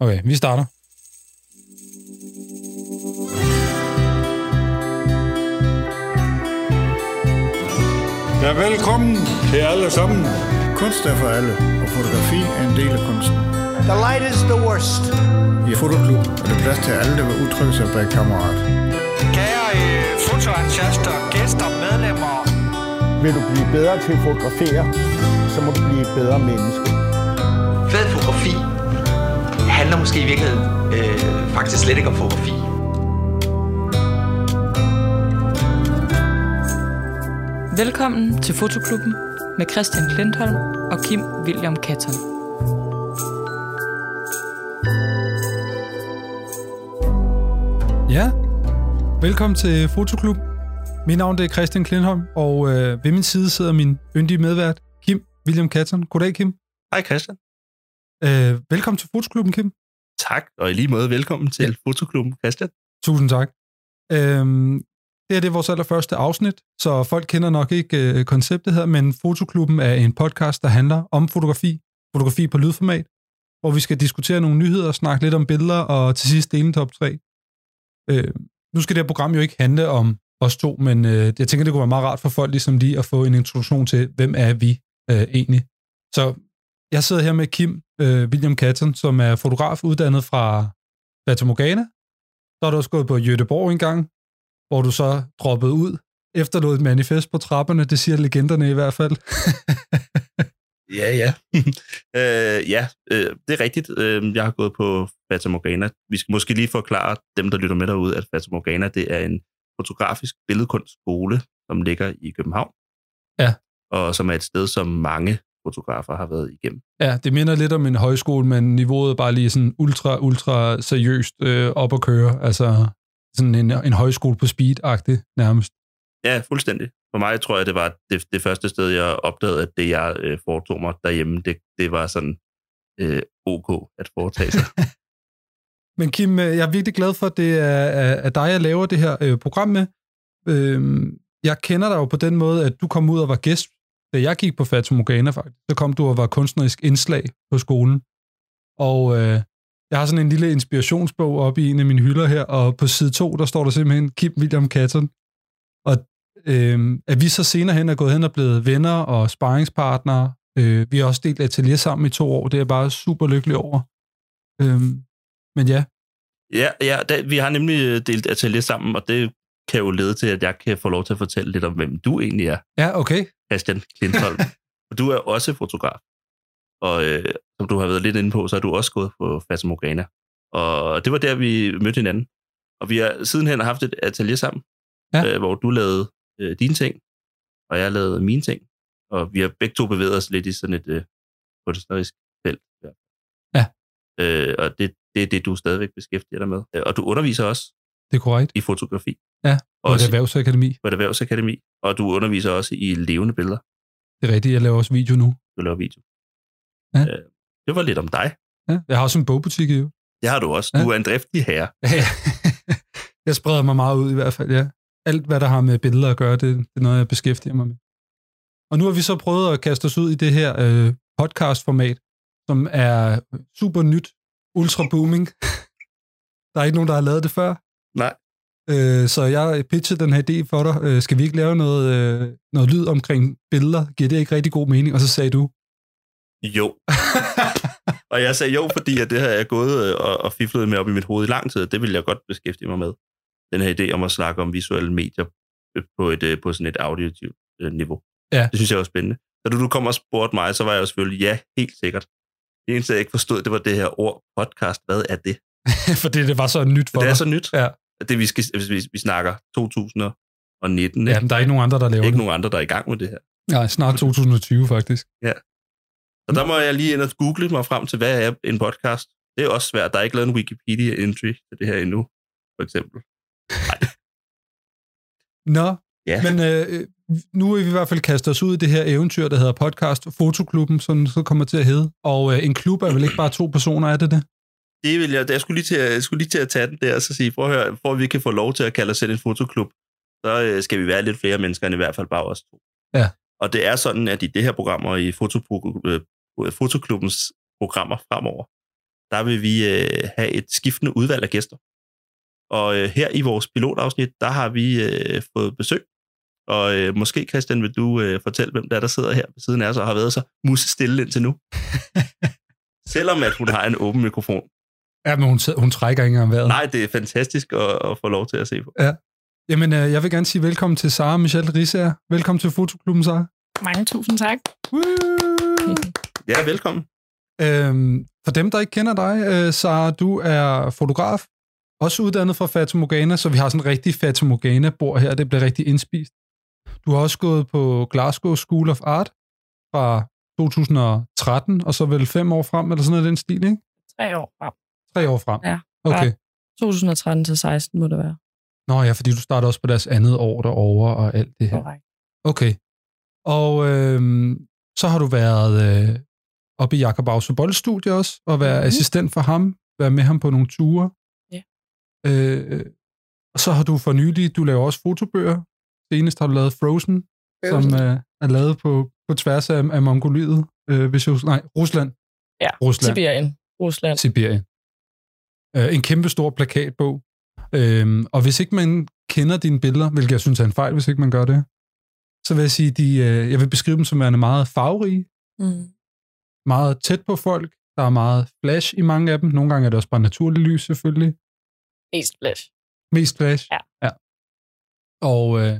Okay, vi starter. Ja, velkommen til alle sammen. Kunst er for alle, og fotografi er en del af kunsten. The light is the worst. I Fotoklub er der plads til alle, der vil udtrykke sig bag kammerat. Kære øh, fotoentusiaster, gæster, medlemmer. Vil du blive bedre til at fotografere, så må du blive et bedre menneske. Fed fotografi handler måske i virkeligheden øh, faktisk slet ikke om fotografi. Velkommen til Fotoklubben med Christian Klintholm og Kim William Katton. Ja, velkommen til Fotoklub. Mit navn det er Christian Klindholm, og øh, ved min side sidder min yndige medvært, Kim William Katzen. Goddag, Kim. Hej Christian. Øh, velkommen til Fotoklubben, Kim. Tak, og i lige måde velkommen til ja. Fotoklubben, Christian. Tusind tak. Øhm, det her det er vores allerførste afsnit, så folk kender nok ikke øh, konceptet her, men Fotoklubben er en podcast, der handler om fotografi, fotografi på lydformat, hvor vi skal diskutere nogle nyheder, snakke lidt om billeder og til sidst dele en top 3. Øh, nu skal det her program jo ikke handle om os to, men øh, jeg tænker, det kunne være meget rart for folk ligesom lige at få en introduktion til, hvem er vi øh, egentlig. Så jeg sidder her med Kim øh, William Katten, som er fotograf uddannet fra Fata Morgana. Så har du også gået på Jødeborg en gang, hvor du så droppede ud, efterlod et manifest på trapperne, det siger legenderne i hvert fald. Ja, ja. øh, ja, øh, det er rigtigt. Øh, jeg har gået på Fata Morgana. Vi skal måske lige forklare dem, der lytter med derude, at Fata Morgana det er en fotografisk billedkunstskole, som ligger i København. Ja. Og som er et sted, som mange fotografer har været igennem. ja, det minder lidt om en højskole, men niveauet er bare lige sådan ultra, ultra seriøst øh, op at køre, altså sådan en, en højskole på speed-agtig nærmest. Ja, fuldstændig. For mig tror jeg, det var det, det første sted, jeg opdagede, at det, jeg øh, foretog mig derhjemme, det, det var sådan øh, ok at foretage sig. Men Kim, øh, jeg er virkelig glad for, at det er, er, er dig, jeg laver det her øh, program med. Øh, jeg kender dig jo på den måde, at du kom ud og var gæst, da jeg gik på Fata Morgana faktisk. Så kom du og var kunstnerisk indslag på skolen. Og øh, jeg har sådan en lille inspirationsbog oppe i en af mine hylder her, og på side 2, der står der simpelthen Kim William Katten. Og øh, at vi så senere hen er gået hen og blevet venner og sparringspartnere. Øh, vi har også delt atelier sammen i to år. Det er jeg bare super lykkelig over. Øh, men ja, Ja, ja da, vi har nemlig øh, delt atelier sammen, og det kan jo lede til, at jeg kan få lov til at fortælle lidt om, hvem du egentlig er, Ja, okay. Christian Klintholm. og du er også fotograf. Og øh, som du har været lidt inde på, så er du også gået på Fata Morgana. Og det var der, vi mødte hinanden. Og vi har sidenhen haft et atelier sammen, Ja. ja. øh, hvor du lavede øh, dine ting, og jeg lavede mine ting. Og vi har begge to bevæget os lidt i sådan et øh, kunstnerisk felt. Ja. Ja. Øh, og det, det er det, du stadigvæk beskæftiger dig med. Øh, Og du underviser også Det er korrekt. i fotografi. Ja, Og et også erhvervsakademi. på et erhvervsakademi, og du underviser også i levende billeder. Det er rigtigt, jeg laver også video nu. Du laver video. Ja. Øh, det var lidt om dig. Ja. Jeg har også en bogbutik jo. Det har du også. Ja. Du er en driftig herre. jeg spreder mig meget ud i hvert fald, ja. Alt, hvad der har med billeder at gøre, det, det er noget, jeg beskæftiger mig med. Og nu har vi så prøvet at kaste os ud i det her øh, podcastformat, som er super nyt, ultra booming. der er ikke nogen, der har lavet det før. Nej. Øh, så jeg pitchede den her idé for dig. Øh, skal vi ikke lave noget, øh, noget lyd omkring billeder? Giver det ikke rigtig god mening? Og så sagde du, Jo. og jeg sagde jo, fordi at det her er gået øh, og, og fiflet med op i mit hoved i lang tid, og det ville jeg godt beskæftige mig med. Den her idé om at snakke om visuelle medier øh, på, et, øh, på sådan et auditivt øh, niveau. Ja. Det synes jeg var spændende. Da du, du kom og spurgte mig, så var jeg jo selvfølgelig, ja, helt sikkert. Det eneste, jeg ikke forstod, det var det her ord podcast. Hvad er det? fordi det var så nyt for Det er dig. så nyt. Ja. det vi, skal, hvis vi, vi snakker 2019, Ja, ja, men der er ikke nogen andre, der laver ikke det. nogen andre, der er i gang med det her. Nej, snart 2020 faktisk. Så der må jeg lige ind og google mig frem til, hvad er en podcast? Det er også svært. Der er ikke lavet en Wikipedia-entry til det her endnu, for eksempel. Nå, Ja, men øh, øh, nu er vi i hvert fald kastet os ud i det her eventyr, der hedder podcast Fotoklubben, som den så kommer til at hedde. Og øh, en klub er vel ikke bare to personer, er det det? det vil jeg, jeg, skulle lige til at, jeg skulle lige til at tage den der og så sige, prøv at høre, for at vi kan få lov til at kalde os selv en fotoklub, så øh, skal vi være lidt flere mennesker end i hvert fald bare os to. Ja. Og det er sådan, at i det her program og i fotopro- øh, fotoklubbens programmer fremover, der vil vi øh, have et skiftende udvalg af gæster. Og øh, her i vores pilotafsnit, der har vi øh, fået besøg. Og øh, måske, Christian, vil du øh, fortælle, hvem der er, der sidder her ved siden af os og har været så musestille indtil nu. Selvom at hun har en åben mikrofon. Ja, men hun, sidder- hun trækker ikke engang vejret. Nej, det er fantastisk at, at få lov til at se på. Jamen, øh, jeg vil gerne sige velkommen til Sara Michelle Risser. Velkommen til Fotoklubben, Sara. Mange tusind tak. Ja, velkommen. Øhm, for dem, der ikke kender dig, øh, Sara, du er fotograf, også uddannet fra Fata Morgana, så vi har sådan en rigtig Fata Morgana-bord her, det bliver rigtig indspist. Du har også gået på Glasgow School of Art fra 2013, og så vel fem år frem, eller sådan noget i den stil, ikke? Tre år frem. Tre år frem. Ja. Okay. 2013 til 16 må det være. Nå ja, fordi du starter også på deres andet år derovre og alt det her. Korrekt. Okay. Og øhm, så har du været øh, oppe i Jakob Ausu Boldstudie også, og været mm. Mhm. assistent for ham, været med ham på nogle ture. Ja. Øh, og så har du for nylig, du laver også fotobøger. Senest har du lavet Frozen, Frozen. som øh, er lavet på, på tværs af, af Mongoliet, øh, hvis jeg, husker- nej, Rusland. Ja, Rusland. Sibirien. Rusland. Sibirien. Øh, en kæmpe stor plakatbog. Øhm, og hvis ikke man kender dine billeder, hvilket jeg synes er en fejl, hvis ikke man gør det, så vil jeg sige, de, øh, jeg vil beskrive dem som værende meget farverige, Mm. meget tæt på folk, der er meget flash i mange af dem. Nogle gange er det også bare naturligt lys selvfølgelig. Mest flash. Mest flash. Ja. ja. Og øh,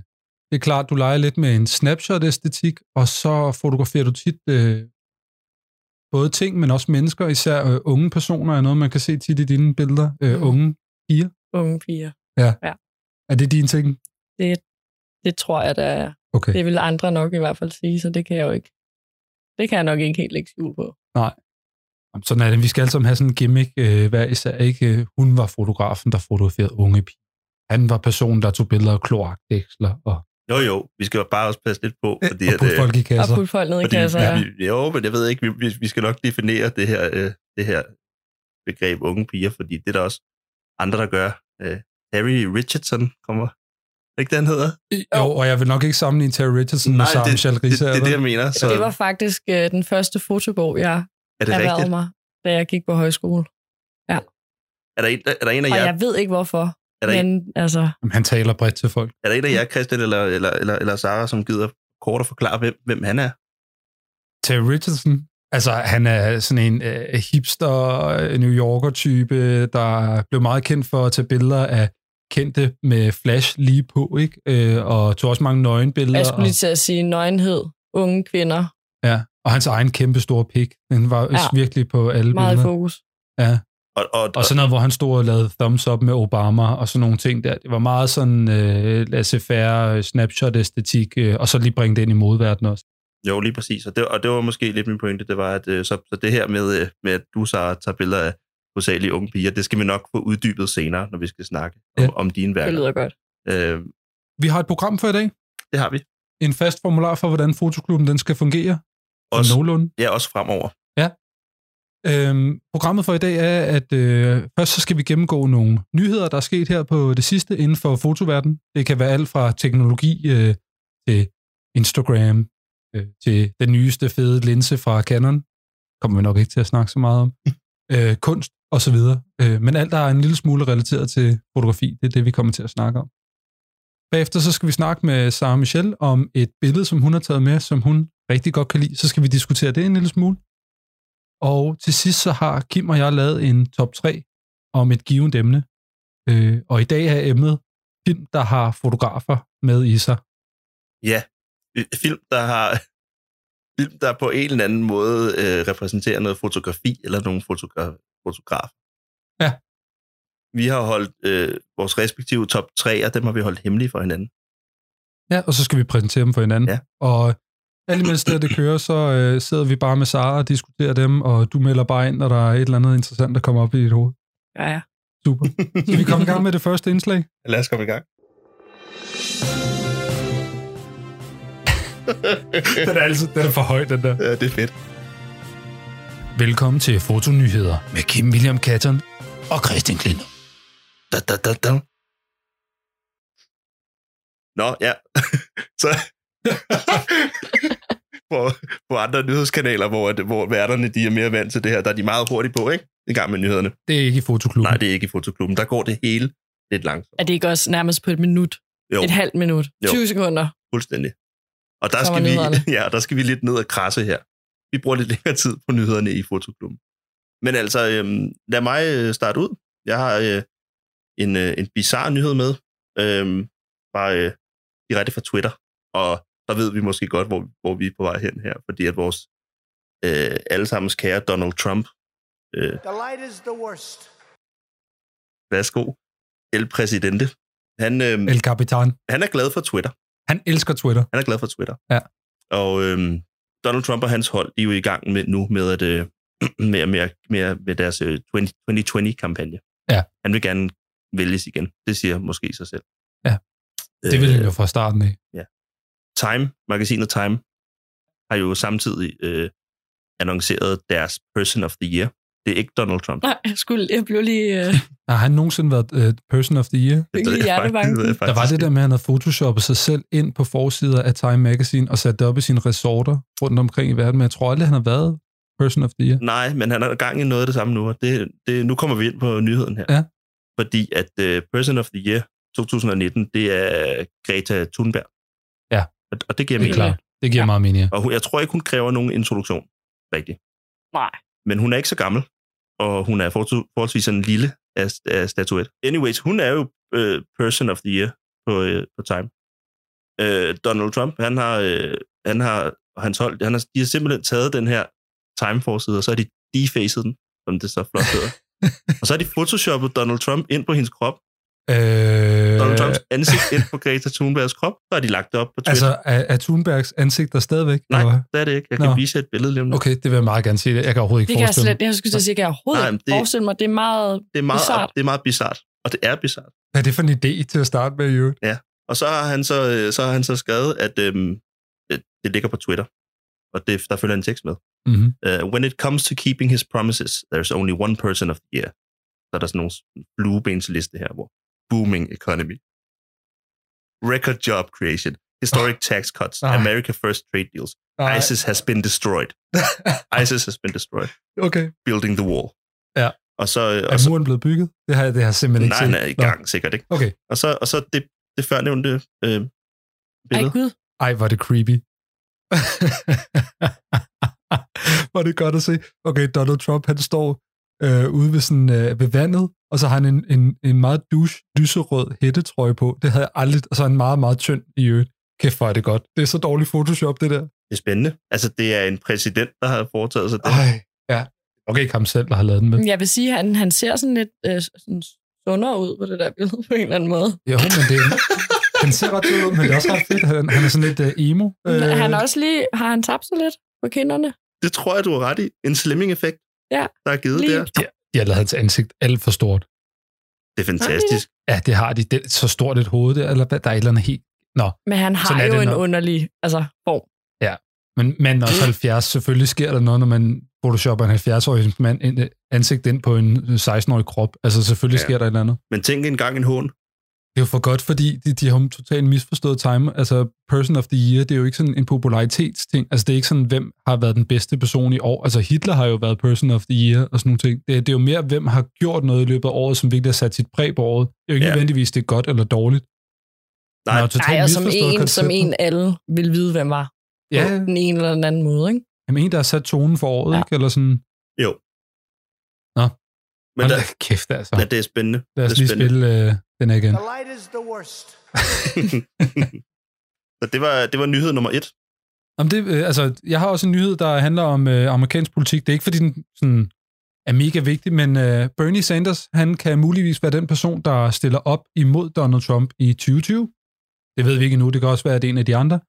det er klart, du leger lidt med en snapshot-æstetik, og så fotograferer du tit øh, både ting, men også mennesker, især øh, unge personer er noget, man kan se tit i dine billeder. Øh, Mm. Unge. Unge piger. Er det dine ting? Det tror jeg, der er. Okay. Det vil andre nok i hvert fald sige, så det kan jeg jo ikke. Det kan jeg nok ikke helt lægge skjul på. Jamen, Sådan er det. Vi skal alle sammen have sådan en gimmick øh, hver især. Ikke? Øh, Hun var fotografen, der fotograferede unge piger. Han var personen, der tog billeder af kloakdæksler og, Jo, jo, vi skal jo bare også passe lidt på, fordi... og putte øh, folk i Og kasser. putte folk ned i Fordi, kasser. ja. vi, jo, men jeg ved ikke, vi, vi, vi skal nok definere det her, øh, det her begreb unge piger, fordi det er der også andre, der gør. Øh, Harry Richardson kommer, Er ikke det, han hedder? Jo, og jeg vil nok ikke sammenligne Terry Richardson med Sarah det, Michelle det, det, Riese. det er det, jeg mener. Så Det var faktisk øh, den første fotobog, jeg er det erhvervede rigtigt? mig, da jeg gik på højskole. Er der, en, er, der en af Og jer, jeg ved ikke hvorfor, er, der en, men altså, Jamen, han taler bredt til folk. er der en af jer, Christian eller, eller, eller, eller Sara, som gider kort at forklare, hvem, hvem han er? Terry Richardson, altså han er sådan en øh, hipster, øh, New Yorker-type, der blev meget kendt for at tage billeder af kendte med flash lige på, ikke? Øh, og tog også mange nøgenbilleder. jeg skulle og- lige til at sige nøgenhed, unge kvinder, Ja, og hans egen kæmpe store pik. Den var ja. Ja. virkelig på alle meget i billederne. fokus. Ja. Og, og, Og sådan noget, hvor han stod og lavede thumbs up med Obama og sådan nogle ting der. Det var meget sådan øh, laissez-faire, øh, snapshot-æstetik, øh, og så lige bringe det ind i modverdenen også. Jo, lige præcis. Og det, og det var måske lidt min pointe, det var, at øh, så, så det her med, øh, med at du, Sara, tager billeder af hovedsageligt unge piger, det skal vi nok få uddybet senere, når vi skal snakke ja. Ja. om, om dine Det værker. lyder godt. Øh, Vi har et program for i dag. det har vi. En fast formular for, hvordan fotoklubben den skal fungere. Og Også, nogenlunde. ja, også fremover. Øhm, programmet for i dag er, at øh, først så skal vi gennemgå nogle nyheder, der er sket her på det sidste inden for fotoverdenen. Det kan være alt fra teknologi øh, til Instagram, øh, til den nyeste fede linse fra Canon. Kommer vi nok ikke til at snakke så meget om. Øh, kunst og så videre. Øh, men alt, der er en lille smule relateret til fotografi, det er det, vi kommer til at snakke om. Bagefter så skal vi snakke med Sara Michelle om et billede, som hun har taget med, som hun rigtig godt kan lide. Så skal vi diskutere det en lille smule. Og til sidst så har Kim og jeg lavet en top 3 om et givet emne. Øh, og i dag er emnet film, der har fotografer med i sig. Ja. Øh, Film, der har film, der på en eller anden måde øh, repræsenterer noget fotografi eller nogle fotogra- fotografer. Ja. Vi har holdt øh, vores respektive top 3, og dem har vi holdt hemmelige for hinanden. Ja, og så skal vi præsentere dem for hinanden. Ja. Og alt imens det, her, det kører, så øh, sidder vi bare med Sara og diskuterer dem, og du melder bare ind, når der er et eller andet interessant, der kommer op i dit hoved. Ja, ja. Super. Skal vi komme i gang med det første indslag? Lad os komme i gang. Den er altid den er for høj, den der. Ja, det er fedt. Velkommen til Fotonyheder med Kim William Katten og Christian Klinder. Da, da, da, da. Nå, ja. så... på, på andre nyhedskanaler, hvor, at- hvor værterne de er mere vant til det her. Der er de meget hurtige på, ikke? I gang med nyhederne. Det er ikke i fotoklubben. Nej, det er ikke i fotoklubben. Der går det hele lidt langsomt. Er det ikke også nærmest på et minut? Jo, Et halvt minut? Jo. 20 sekunder? fuldstændig. Og der Så var skal, vi, nyhederne. ja, der skal vi lidt ned og krasse her. Vi bruger lidt længere tid på nyhederne i fotoklubben. Men altså, øhm, lad mig øh, starte ud. Jeg har øh, en, øh, en bizarre nyhed med, øhm, bare øh, direkte fra Twitter. Og der ved vi måske godt, hvor, hvor vi er på vej hen her, fordi at vores øh, allesammens kære Donald Trump, øh, The light is the worst. værsgo, el præsidente, han, øh, El Capitan. han er glad for Twitter. Han elsker Twitter. Han er glad for Twitter. Ja. Og øhm, Donald Trump og hans hold, de er jo i gang med nu med at øh, med, med, med, med deres øh, 20 2020-kampagne. Ja. Han vil gerne vælges igen. Det siger måske sig selv. Øh, Ja. Det vil han jo fra starten af. Time, magasinet Time, har jo samtidig øh, annonceret deres Person of the Year. Det er ikke Donald Trump. Nej, jeg, skulle, jeg blev lige... Øh, Har han nogensinde været uh, person of the year? Det Hvilket hjertebanken. ved jeg Der var faktisk det der ikke. med, at han havde photoshoppet sig selv ind på forsider af Time Magazine og sat det op i sine resorter rundt omkring i verden, men jeg tror aldrig, han har været person of the year. Nej, men han er i gang i noget af det samme nu, og det, det, nu kommer vi ind på nyheden her. Ja. Fordi at uh, Person of the Year 2019, det er Greta Thunberg. Ja. Og, og det giver Det er mening. klart. Det giver Ja. meget mening, ja. Og hun, jeg tror ikke, hun kræver nogen introduktion. Rigtigt. nej. Men hun er ikke så gammel, og hun er forholds- forholdsvis en lille af, af statuet. Anyways, hun er jo øh, Person of the Year på, øh, på Time. Øh, Donald Trump, han har, øh, han har og hans hold, han har, de har simpelthen taget den her Time-forside, og så har de defacet den, som det så flot hedder. og så har de photoshoppet Donald Trump ind på hendes krop, Øh, Donald Trumps ansigt ind på Greta Thunbergs krop, så har de lagt det op på Twitter. altså, er, er Thunbergs ansigt der stadigvæk? Nej, eller hvad? det er det ikke. Jeg kan Nå. vise jer et billede lige om lidt. Okay, det vil jeg meget gerne se. Jeg kan overhovedet Det ikke kan jeg forestille slet... Jeg skulle til at sige, at jeg overhovedet Nej, men ikke det- forestille mig. Det er meget... Det er meget, Bizarrt. det er meget bizart. Og det er bizart. mig. Hvad er det for en idé til at starte med, Jørgen? Og så har han så, øh, så, har han så skrevet, at øhm, øh, det ligger på Twitter. Og det, der følger en tekst med. Mm-hmm. Uh, when it comes to keeping his promises, there's only one person of the year. Så er der sådan nogle fluebensliste her, hvor booming economy, record job creation, Ah. historic tax cuts, Nej. America first trade deals, Ah. ISIS has been destroyed. ISIS has been destroyed. okay. Building the wall. Ah. Ja. Og så, Er og så muren blevet bygget? Det har jeg, det har jeg simpelthen ikke nej, set. han er i Nå. gang sikkert, ikke? Okay. Og så, og så det, det førnævnte øh, Ej, billede. gud. Ej, hvor er det creepy. var det godt at se. Okay, Donald Trump, han står øh, ude ved, sådan, øh, ved vandet, og så har han en, en, en meget douche, lyserød hættetrøje på. Det havde jeg aldrig, og så er han meget, meget tynd i øvrigt. Kæft, hvor er det godt. Det er så dårlig Photoshop, det der. Det er spændende. Altså, det er en præsident, der har foretaget sig det. Ej, ja. Okay, ikke ham selv, der har lavet den med. Men Jeg vil sige, at han, han ser sådan lidt øh, sådan sundere ud på det der billede på en eller anden måde. Jo, men det er, han ser ret sød ud, men det er også ret fedt. Han, han er sådan lidt uh, emo. Øh. Han er også lige, har han tabt sig lidt på kinderne? Det tror jeg, du har ret i. En slimming-effekt, Ja, der er givet lige. der. De har lavet hans ansigt alt for stort. Det er fantastisk. Ja, det har de. Det er så stort et hoved der, eller hvad? Der er et eller andet helt... Nå, Men han har Sådan er jo det en nok. underlig altså, form. men mand er også 70. Selvfølgelig sker der noget, når man photoshopper en 70-årig mand ind, øh, ansigt ind på en 16-årig krop. Altså, selvfølgelig Ja. ja. sker der et eller andet. Men tænk engang en hån. Det er jo for godt, fordi de, de har jo totalt misforstået time. Altså, person of the year, det er jo ikke sådan en popularitetsting. Altså, det er ikke sådan, hvem har været den bedste person i år. Altså, Hitler har jo været person of the year og sådan nogle ting. Det, det er jo mere, hvem har gjort noget i løbet af året, som virkelig har sat sit præg på året. Det er jo ikke Ja. ja. nødvendigvis, det er godt eller dårligt. Nej. Man har totalt Nej, og som misforstået en, som konceptet. en alle vil vide, hvem var. Ja, På den ene eller den anden måde, ikke? jamen, en, der har sat tonen for året, Ja. ja. ikke? Eller sådan, Jo. Nå. Men men der, der, kæft altså. ja, det er spændende. Lad os det er lige spændende. spille øh, den her igen. The light is the worst. Så det var, det var nyhed nummer et. Jamen det, øh, altså, jeg har også en nyhed, der handler om øh, amerikansk politik. Det er ikke, fordi den sådan, er mega vigtig, men øh, Bernie Sanders, han kan muligvis være den person, der stiller op imod Donald Trump i 2020. Det ved vi ikke endnu, det kan også være, at det er en af de andre.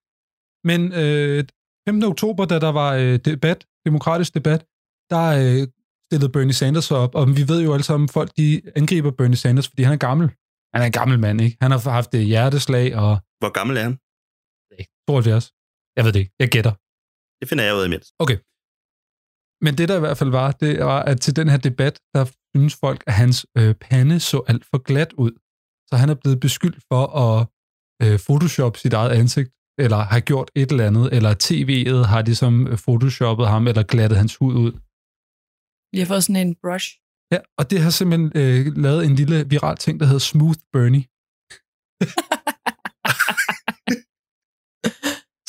Men øh, 15. oktober, da der var øh, debat, demokratisk debat, der øh, stillede Bernie Sanders sig op, og vi ved jo alle sammen, folk de angriber Bernie Sanders, fordi han er gammel. Han er en gammel mand, ikke? Han har haft øh, hjerteslag og Hvor gammel er han? 72. Jeg ved det ikke, jeg gætter. Det finder jeg ud af imens. Men det, der i hvert fald var, det var, at til den her debat, der synes folk, at hans øh, pande så alt for glat ud. Så han er blevet beskyldt for at øh, photoshoppe sit eget ansigt eller har gjort et eller andet, eller tv'et har ligesom øh, photoshoppet ham, eller glattet hans hud ud. Vi har fået sådan en brush. Ja, og det har simpelthen øh, lavet en lille viral ting, der hedder Smooth Bernie.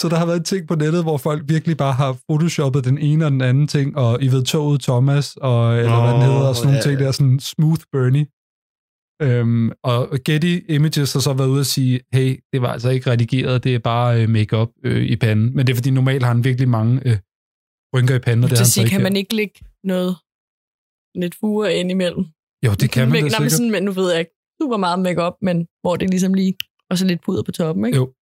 Så der har været en ting på nettet, hvor folk virkelig bare har photoshoppet den ene og den anden ting, og I ved, toget Thomas, og, eller hvad den Nå, hedder, og sådan nogle ja, ting der, sådan Smooth Bernie. Øhm, og Getty Images har så været ude og sige, hey, det var altså ikke redigeret, det er bare øh, makeup øh, i panden. Men det er fordi, normalt har han virkelig mange øh, rynker i panden, og det har Det vil han så sige, ikke. kan her. man ikke lægge noget lidt fure ind imellem? Jo, det kan man da men, nej, men sikkert. sådan, men nu ved jeg ikke super meget make op, men hvor det ligesom lige, og så lidt puder på toppen, ikke? Jo.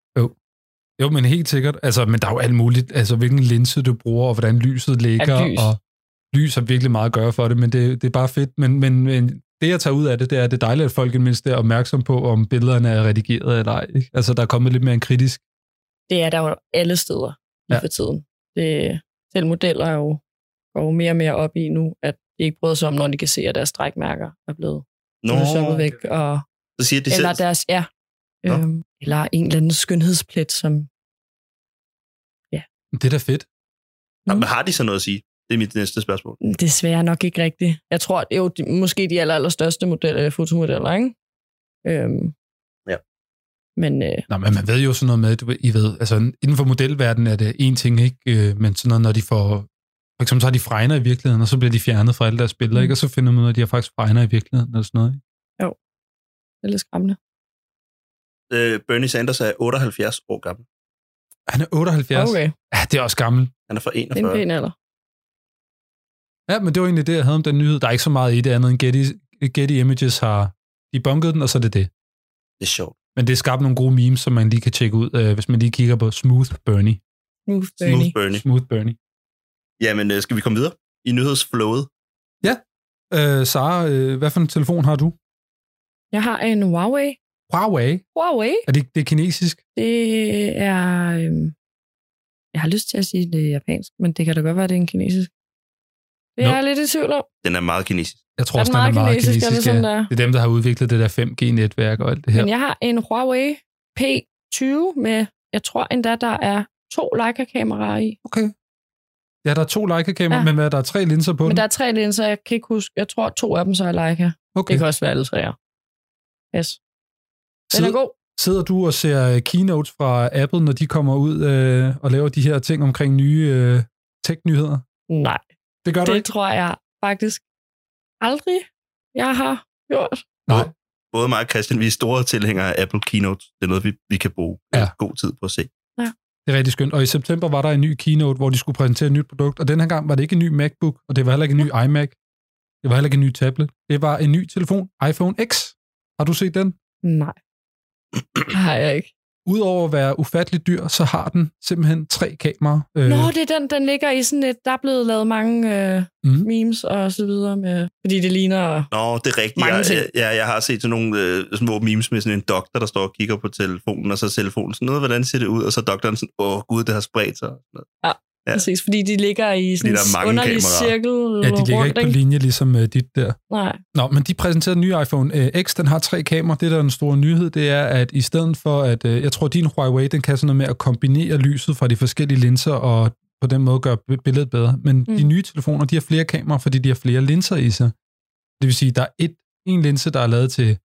Jo, men helt sikkert. Altså, men der er jo alt muligt. Altså, hvilken linse du bruger, og hvordan lyset ligger. Ja, lys. Og lys har virkelig meget at gøre for det, men det, det er bare fedt. Men, men, men det, jeg tager ud af det, det er, at det er dejligt, at folk i det mindste er opmærksom på, om billederne er redigeret eller ej. Ikke? Altså, der er kommet lidt mere en kritisk... Det er der jo alle steder lige Ja. ja. for tiden. Det, selv modeller er jo, går jo mere og mere op i nu, at de ikke bryder sig om, når de kan se, at deres strækmærker er blevet Nå, shoppet væk, og, så siger de selv, eller deres, ja, Nå. øhm, eller en eller anden skønhedsplet, som Det er da fedt. men har de så noget at sige? Det er mit næste spørgsmål. Desværre nok ikke rigtigt. Jeg tror, at jo, de, måske de aller, allerstørste model, øh, fotomodeller, ikke? Øhm, Ja. Men øh, Nå, men man ved jo sådan noget med, du ved- I ved, altså inden for modelverdenen er det en ting, ikke? Øh, Men sådan noget, når de får... For eksempel så har de fregner i virkeligheden, og så bliver de fjernet fra alle deres billeder, Mm. ikke? Og så finder man ud af, at de har faktisk fregner i virkeligheden, eller sådan noget, ikke? det er lidt skræmmende. Øh, Bernie Sanders er 78 år gammel. Han er 78. Okay, Ja, det er også gammel. Han er fra det er en 41. pæn alder. Ja, men det var egentlig det, jeg havde om den nyhed. Der er ikke så meget i det andet end Getty, Getty Images har debunket den, og så er det det. Det er sjovt. Men det skabte nogle gode memes, som man lige kan tjekke ud, øh, hvis man lige kigger på Smooth Bernie. Smooth Smooth Bernie. Bernie. Smooth Bernie. Jamen, øh, skal vi komme videre i nyhedsflowet? Øh, Sara, øh, hvad for en telefon har du? Jeg har en Huawei. Huawei. Huawei? Er det, det er kinesisk? Det er... Øhm, jeg har lyst til at sige, det er japansk, men det kan da godt være, det er en kinesisk. Det Nå. er jeg lidt i tvivl om. Den er meget kinesisk. Jeg tror Er også, den den er meget meget kinesisk, er det kinesisk. ja. sådan, der er? det er dem, der har udviklet det der 5G-netværk og alt det her. Men jeg har en Huawei P20 med, jeg tror endda, der er to Leica-kameraer i. Okay. Ja, der er to Leica-kameraer, ja. Ja. men hvad, der er tre linser på Men den? der er tre linser, jeg kan ikke huske. Jeg tror, to af dem så er Leica. Okay. okay. Det kan også være alle tre. ja. Yes. Den Sidder, er god. sidder du og ser øh, keynotes fra Apple, når de kommer ud øh, og laver de her ting omkring nye øh, tech-nyheder? Nej, Det gør du det ikke? tror jeg faktisk aldrig, jeg har gjort. Nej. Både mig og Christian, vi er store tilhængere af Apple Keynote. Det er noget, vi, vi kan bruge Ja. ja. god tid på at se. Det er rigtig skønt. Og i september var der en ny keynote, hvor de skulle præsentere et nyt produkt, og den her gang var det ikke en ny MacBook, og det var heller ikke en ny iMac. Det var heller ikke en ny tablet. Det var en ny telefon, iPhone X. Har du set den? Nej. Det har jeg ikke. Udover at være ufattelig dyr, så har den simpelthen tre kameraer. Øh, Nå, det er den, den ligger i sådan et, der er blevet lavet mange øh, Mhm. mm. memes og så videre med, fordi det ligner... Nå, det er rigtigt. Mange Jeg, ting. jeg, jeg, jeg har set sådan nogle øh, små memes med sådan en doktor, der står og kigger på telefonen, og så er telefonen sådan noget, hvordan ser det ud? Og så er doktoren sådan, åh gud, det har spredt sig. Ja. Præcis, fordi de ligger i sådan der er en mange underlig kameraer. cirkel ja, de ligger rundt, ikke på linje ligesom øh, dit der. Nej. Nå, men de præsenterede den nye iPhone øh, X. Den har tre kameraer. Det, der er den store nyhed, det er, at i stedet for, at øh, jeg tror, din Huawei, den kan sådan noget med at kombinere lyset fra de forskellige linser og på den måde gøre bi- billedet bedre. Men mm. Mm. de nye telefoner, de har flere kameraer, fordi de har flere linser i sig. Det vil sige, der er et, en linse, der er lavet til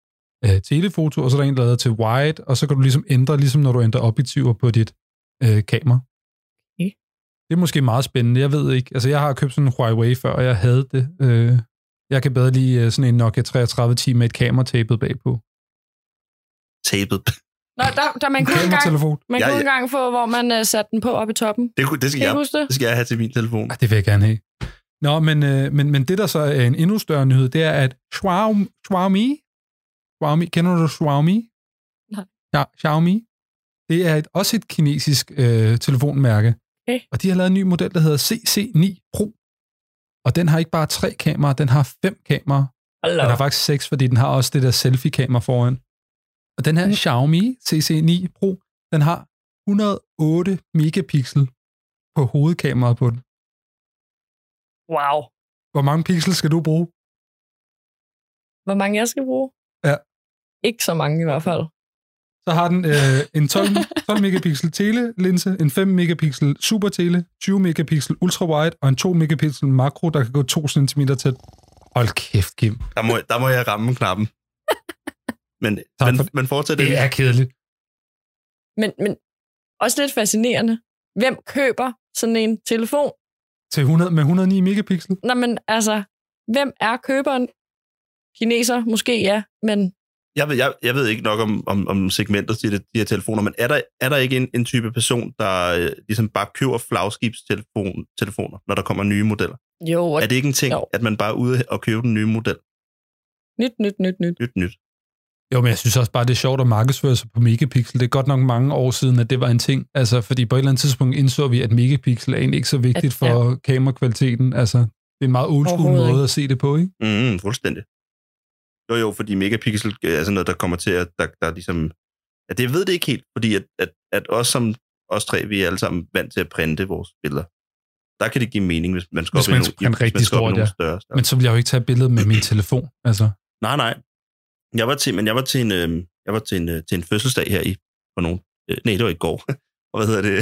øh, telefoto, og så er der en, der er lavet til wide, og så kan du ligesom ændre, ligesom når du ændrer objektiver på dit øh, kamera. Okay. Det er måske meget spændende. Jeg ved ikke. Altså, jeg har købt sådan en Huawei før, og jeg havde det. Øh, jeg kan bedre lide øh, sådan en Nokia 3310 med et kamera tapet bagpå. Tapet. Nå, der, der man En kunne engang, kameratelefon. man Ja, kunne ja. engang få, hvor man øh, satte den på op i toppen. Det, kunne- det, skal Kan jeg, I huske det? det skal jeg have til min telefon. Ah, det vil jeg gerne have. Nå, men, øh, men, men det, der så er en endnu større nyhed, det er, at Xiaomi, Xiaomi, Xiaomi kender du Xiaomi? Nej. Ja, Xiaomi. Det er et, også et kinesisk øh, telefonmærke. Okay. Og de har lavet en ny model, der hedder CC9 Pro. Og den har ikke bare tre kameraer, den har fem kameraer. Hello. Den har faktisk seks, fordi den har også det der selfie-kamera foran. Og den her Xiaomi CC9 Pro, den har 108 megapixel på hovedkameraet på den. Wow. Hvor mange pixels skal du bruge? Hvor mange jeg skal bruge? Ja. Ikke så mange i hvert fald. Så har den øh, en 12, 12 megapixel telelinse, en 5 megapixel super tele, 20 megapixel ultra wide og en 2 megapixel makro, der kan gå 2 cm tæt. Hold kæft, Kim. Der må, der må jeg ramme knappen. Men, Tak men, for det. men fortsæt det. Det er kedeligt. Men, men også lidt fascinerende. Hvem køber sådan en telefon? Til 100, med 109 megapixel. Nå, men altså, hvem er køberen? Kineser, måske ja, men Jeg ved, jeg, jeg ved ikke nok om, om, om segmentet til de, de her telefoner, men er der, er der ikke en, en type person, der øh, ligesom bare køber flagskibstelefoner, når der kommer nye modeller? jo, og Er det ikke en ting, Jo. at man bare er ude og købe den nye model? nyt, nyt, nyt, nyt. Nyt, nyt. Jo, men jeg synes også bare, det er sjovt at markedsføre sig på megapixel. Det er godt nok mange år siden, at det var en ting. Altså, fordi på et eller andet tidspunkt indså vi, at megapixel er egentlig ikke så vigtigt At- ja. for kamerakvaliteten. Altså, det er en meget old school Overhovedet måde ikke. at se det på, ikke? Mm, fuldstændig. Jo, jo, fordi megapixel øh, er sådan noget, der kommer til at, der, der ligesom... At det jeg ved det ikke helt, fordi at, at, at os som os tre, vi er alle sammen vant til at printe vores billeder. Der kan det give mening, hvis man skal Hvis op i man nogle- skal printe hvis man rigtig skal op i stort, nogle ja. større, større. Men så vil jeg jo ikke tage billedet med min telefon. Altså, Nej, nej. Jeg var til, men jeg var til en, øh, jeg var til en, øh, til en fødselsdag her i, for nogen, øh, nej, det var i går. og hvad hedder det?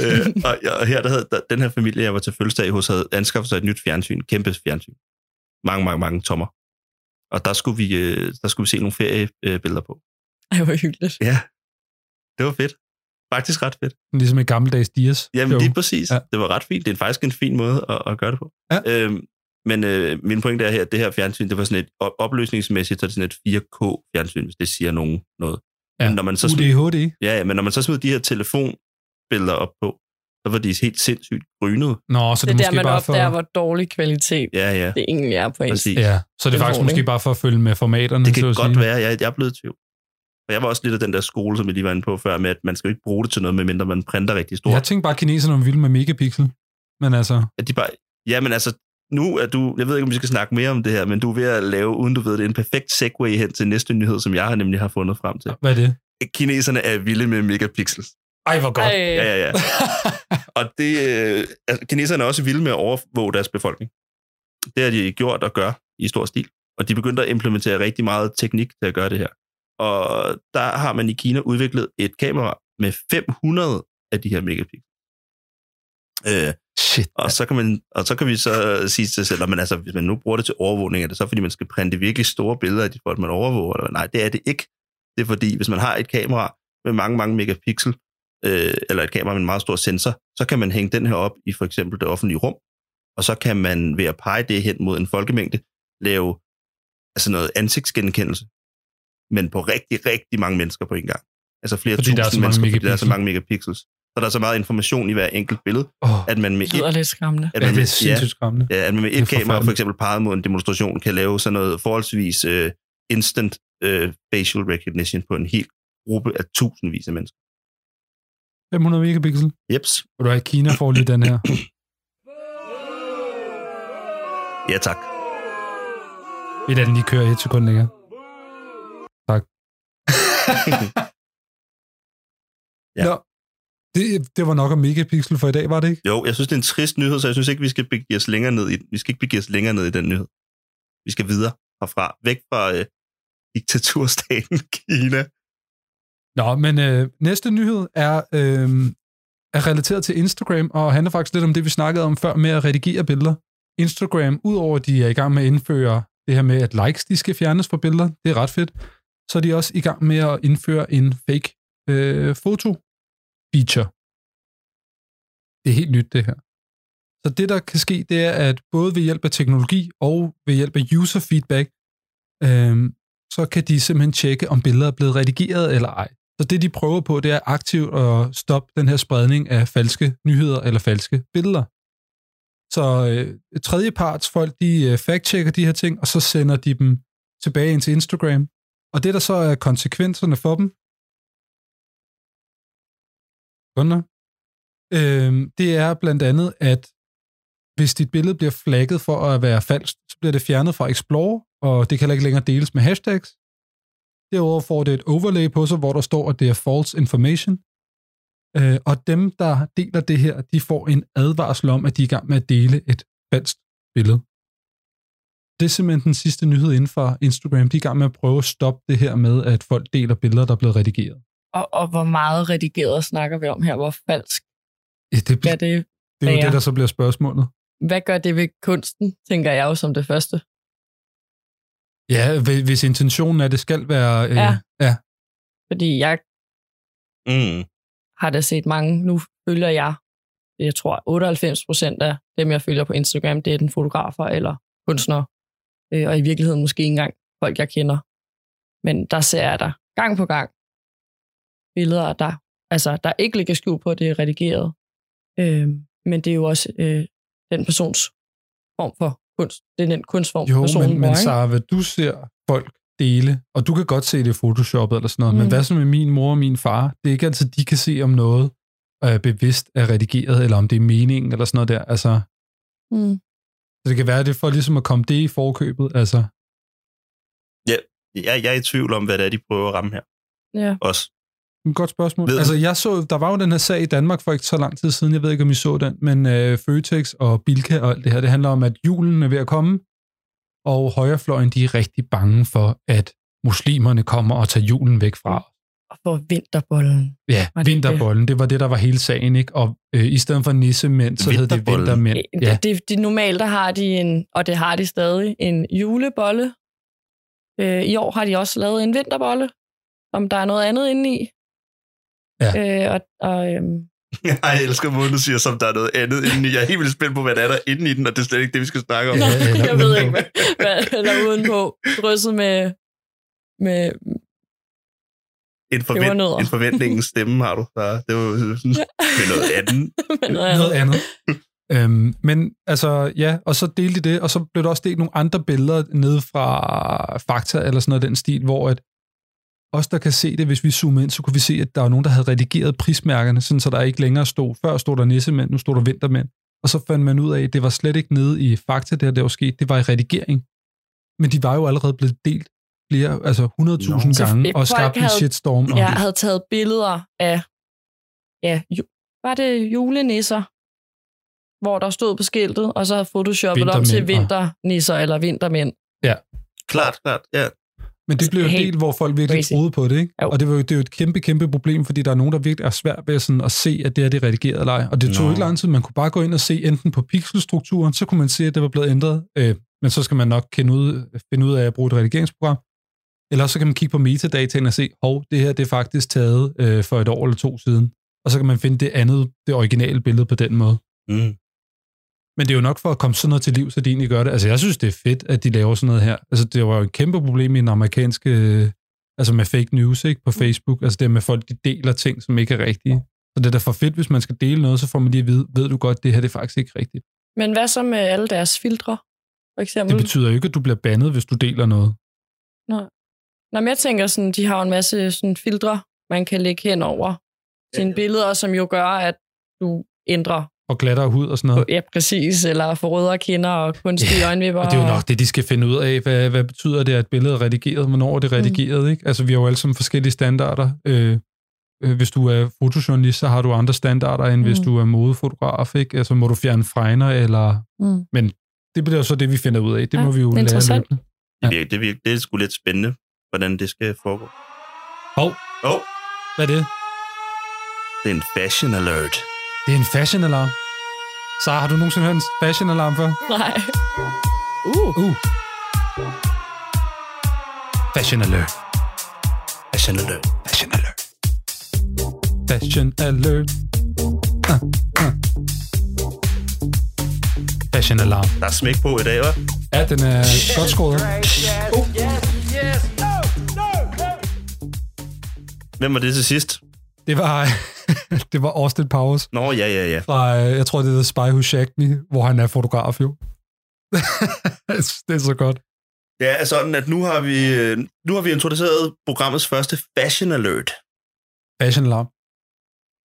øh, og, jeg- og, her, der havde, der, den her familie, jeg var til fødselsdag hos, havde anskaffet sig et nyt fjernsyn, kæmpe fjernsyn. Mange, mange, mange tommer. Og der skulle vi, øh, der skulle vi se nogle feriebilleder øh, billeder på. Ej, hvor hyggeligt. Ja, det var fedt. Faktisk ret fedt. ligesom i gammeldags Dias. Jamen show. lige præcis. Ja. Ja. Det var ret fint. Det er faktisk en fin måde at, at gøre det på. Ja. Øhm, men øh, min pointe er her, at det her fjernsyn, det var sådan et op- opløsningsmæssigt, så er det sådan et 4K-fjernsyn, hvis det siger nogen noget. Ja. Men når man så smed, UDHD. ja, ja, men når man så smed de her telefonbilleder op på, så var de helt sindssygt grynede. Nå, så det, Det det er måske der, man bare for... opdager, hvor dårlig kvalitet Ja, ja, det egentlig er på ens. præcis. Ja, Ja, så er det Den faktisk får, måske ikke? bare for at følge med formaterne. det kan så at godt sige. være, jeg, jeg er blevet i tvivl. Og jeg var også lidt af den der skole, som jeg lige var inde på før, med at man skal jo ikke bruge det til noget, medmindre man printer rigtig stort. Jeg tænkte bare, at kineserne var vilde med megapixel. Men altså, at de bare, ja, men altså, nu er du, jeg ved ikke, om vi skal snakke mere om det her, men du er ved at lave, uden du ved det, en perfekt segue hen til næste nyhed, som jeg har nemlig har fundet frem til. hvad er det? Kineserne er vilde med megapixels. Ej, hvor godt. Ej, Ja, ja, ja. Og det, øh, altså, kineserne er også vilde med at overvåge deres befolkning. Det har de gjort og gør i stor stil. Og de begyndte at implementere rigtig meget teknik til at gøre det her. Og der har man i Kina udviklet et kamera med 500 af de her megapixels. Øh, Shit. og så, kan man, og så kan vi så sige til sig selv, men altså, hvis man nu bruger det til overvågning, er det så fordi, man skal printe virkelig store billeder af de folk, man overvåger? Eller? hvad? Nej, det er det ikke. Det er fordi, hvis man har et kamera med mange, mange megapixel, øh, eller et kamera med en meget stor sensor, så kan man hænge den her op i for eksempel det offentlige rum, og så kan man ved at pege det hen mod en folkemængde, lave altså noget ansigtsgenkendelse, men på rigtig, rigtig mange mennesker på en gang. Altså flere Fordi der er tusind så mange mennesker, fordi der er så megapixel. mange megapixels. Så der er så meget information i hver enkelt billede, Oh, at man med det lyder lidt skræmmende. at ja, det man, med, er ja, sindssygt skræmmende. ja, at man med Det er et kamera for forfærdeligt. eksempel peget mod en demonstration kan lave sådan noget forholdsvis øh, instant øh, facial recognition på en hel gruppe af tusindvis af mennesker. 500 megapixel. Jeps. Vil du have Kina får lige den her? Ja tak. Vi lader den lige køre et sekund længere. Tak. Ja. Nå, det, det var nok om megapixel for i dag, var det ikke? Jo, jeg synes, det er en trist nyhed, så jeg synes ikke, vi skal begive os længere ned i, vi skal ikke begive os længere ned i den nyhed. Vi skal videre herfra. Væk fra øh, diktaturstaten Kina. Nå, men øh, næste nyhed er, øh, er relateret til Instagram, og handler faktisk lidt om det, vi snakkede om før med at redigere billeder. Instagram, udover at de er i gang med at indføre det her med, at likes de skal fjernes fra billeder, det er ret fedt, så er de også i gang med at indføre en fake øh, foto-feature. Det er helt nyt, det her. Så det, der kan ske, det er, at både ved hjælp af teknologi og ved hjælp af user feedback, øh, så kan de simpelthen tjekke, om billeder er blevet redigeret eller ej. Så det, de prøver på, det er aktivt at stoppe den her spredning af falske nyheder eller falske billeder. Så øh, tredjeparts folk, de øh, fact-checker de her ting, og så sender de dem tilbage ind til Instagram. Og det, der så er konsekvenserne for dem, Sekunder. øhm, det er blandt andet, at hvis dit billede bliver flagget for at være falsk, så bliver det fjernet fra Explore, og det kan heller ikke længere deles med hashtags. Derudover får det et overlay på sig, hvor der står, at det er false information. Øh, og dem, der deler det her, de får en advarsel om, at de er i gang med at dele et falsk billede. Det er simpelthen den sidste nyhed inden for Instagram. De er i gang med at prøve at stoppe det her med, at folk deler billeder, der er blevet redigeret. Og, og hvor meget redigeret snakker vi om her? Hvor falsk Ja, det, er det? det er jo ja. det, der så bliver spørgsmålet. Hvad gør det ved kunsten, tænker jeg jo som det første. Ja, hvi- hvis intentionen er, at det skal være... Øh, Ja. ja. ja. Fordi jeg Mm. har da set mange. Nu følger jeg, jeg tror 98 procent af dem, jeg følger på Instagram, det er den fotografer eller kunstnere. Øh, Og i virkeligheden måske ikke engang folk, jeg kender. Men der ser jeg der gang på gang billeder, der, altså, der ikke ligger skjul på, at det er redigeret. Øh, Men det er jo også øh, den persons form for kunst. Det er den kunstform, Jo, personen men, bruger, men ikke? Sara, hvad du ser folk dele, og du kan godt se det i Photoshoppet eller sådan noget, mm. men Mm. hvad så med min mor og min far? Det er ikke altid, de kan se, om noget er bevidst er redigeret, eller om det er meningen eller sådan noget der. Altså, Mm. så det kan være, det er for ligesom at komme det i forkøbet. Altså, Jeg, jeg er i tvivl om, hvad det er, de prøver at ramme her. Ja. Også. et godt spørgsmål. Ved- altså, jeg så, der var jo den her sag i Danmark for ikke så lang tid siden, jeg ved ikke, om I så den, men øh, Føtex og Bilka og alt det her, det handler om, at julen er ved at komme, og højrefløjen, de er rigtig bange for, at muslimerne kommer og tager julen væk fra os. Og for vinterbollen. Ja, Var det vinterbolden, det var det, der var hele sagen, ikke? Og øh, i stedet for nissemænd, så hed det Vinterbollen. vintermænd. Ja. Ja, Øh, Det, det, normalt der har de en, og det har de stadig, en julebolle. Øh, I år har de også lavet en vinterbolle, om der er noget andet inde i. Ja. Øh, og, og, øhm, Jeg elsker måden, du siger, som der er noget andet indeni. Jeg er helt vildt spændt på, hvad der er der inde i den, og det er slet ikke det, vi skal snakke om. Ja, eller jeg ved udenpå. ikke, hvad, hvad der er udenpå. Drysset med, med En, Pebernødder. forvent, en forventningens stemme har du. Der. Det var med noget andet. med noget noget andet. andet. øhm, men altså, ja, og så delte de det, og så blev der også delt nogle andre billeder nede fra Fakta eller sådan noget af den stil, hvor at os, der kan se det, hvis vi zoomer ind, så kunne vi se, at der var nogen, der havde redigeret prismærkerne, sådan så der ikke længere stod, før stod der nissemænd, nu stod der vintermænd. Og så fandt man ud af, at det var slet ikke nede i Fakta, det her, der var sket, det var i redigering. Men de var jo allerede blevet delt flere, altså 100.000 Nå. Så gange, og folk skabt en havde- shitstorm. om Jeg det. havde taget billeder af, ja, ju- var det julenisser, hvor der stod på skiltet, og så havde photoshoppet om til Vintermænd og- vinternisser eller vintermænd. Klart, klart. Ja. Men det blev jo en Altså, Helt del, hvor folk virkelig crazy. crazy. troede på det, ikke? Jo. Og det, var jo, det er jo et kæmpe, kæmpe problem, fordi der er nogen, der virkelig er svært ved sådan at se, at det her det er redigeret eller ej. Og det tog Nå. ikke lang tid. Man kunne bare gå ind og se enten på pixelstrukturen, så kunne man se, at det var blevet ændret. Øh, men så skal man nok kende ud, finde ud af at bruge et redigeringsprogram. Eller så kan man kigge på metadataen og se, hov, det her det er faktisk taget øh, for et år eller to siden. Og så kan man finde det andet, det originale billede på den måde. Mm. Men det er jo nok for at komme sådan noget til liv, så de egentlig gør det. Altså, jeg synes, det er fedt, at de laver sådan noget her. Altså, det var jo et kæmpe problem i den amerikanske... øh, Altså med fake news, ikke? På Facebook. Altså det med at folk, de deler ting, som ikke er rigtige. Så det er da for fedt, hvis man skal dele noget, så får man lige at vide, ved du godt, det her det er faktisk ikke rigtigt. Men hvad så med alle deres filtre, for eksempel? Det betyder jo ikke, at du bliver bandet, hvis du deler noget. Når jeg tænker sådan, de har jo en masse sådan filtre, man kan lægge hen over sine billeder, som jo gør, at du ændrer Og glatter og hud og sådan på, noget. ja, præcis, eller får rødere kinder og kunstige Ja, øjenvipper. Og det er jo nok det, de skal finde ud af. Hvad, hvad betyder det, at billedet er redigeret? Hvornår er det redigeret? Mm. Ikke? Altså, vi har jo alle sammen forskellige standarder. Øh, øh, hvis du er fotojournalist, så har du andre standarder, end mm. hvis Mm. du er modefotograf. Ikke? Altså, må du fjerne fregner? Eller... Mm. Det bliver jo så det, vi finder ud af. Det Ja, ja, må vi jo lære interessant. løbende. Det, virker, det, virker, det er sgu lidt spændende, hvordan det skal foregå. Hov, Åh, oh, hvad er det? det er en fashion alert. Det er en fashion-alarm. Sara, har du nogensinde hørt en fashion-alarm før? Nej. Uh. Fashion alert. Fashion alert. Fashion alert. Fashion alert. Ah, ah. Fashion alarm. Der er smæk på i dag, hva'? Ja, den er godt skåret. Hvem var det til sidst? Det var, det var Austin Powers Nå, ja, ja, ja. fra, øh, jeg tror, det hedder Spy Who Shagged Me, hvor han er fotograf jo. det er så godt. Det er sådan, at nu har vi, øh, nu har vi introduceret programmets første fashion alert. Fashion alarm.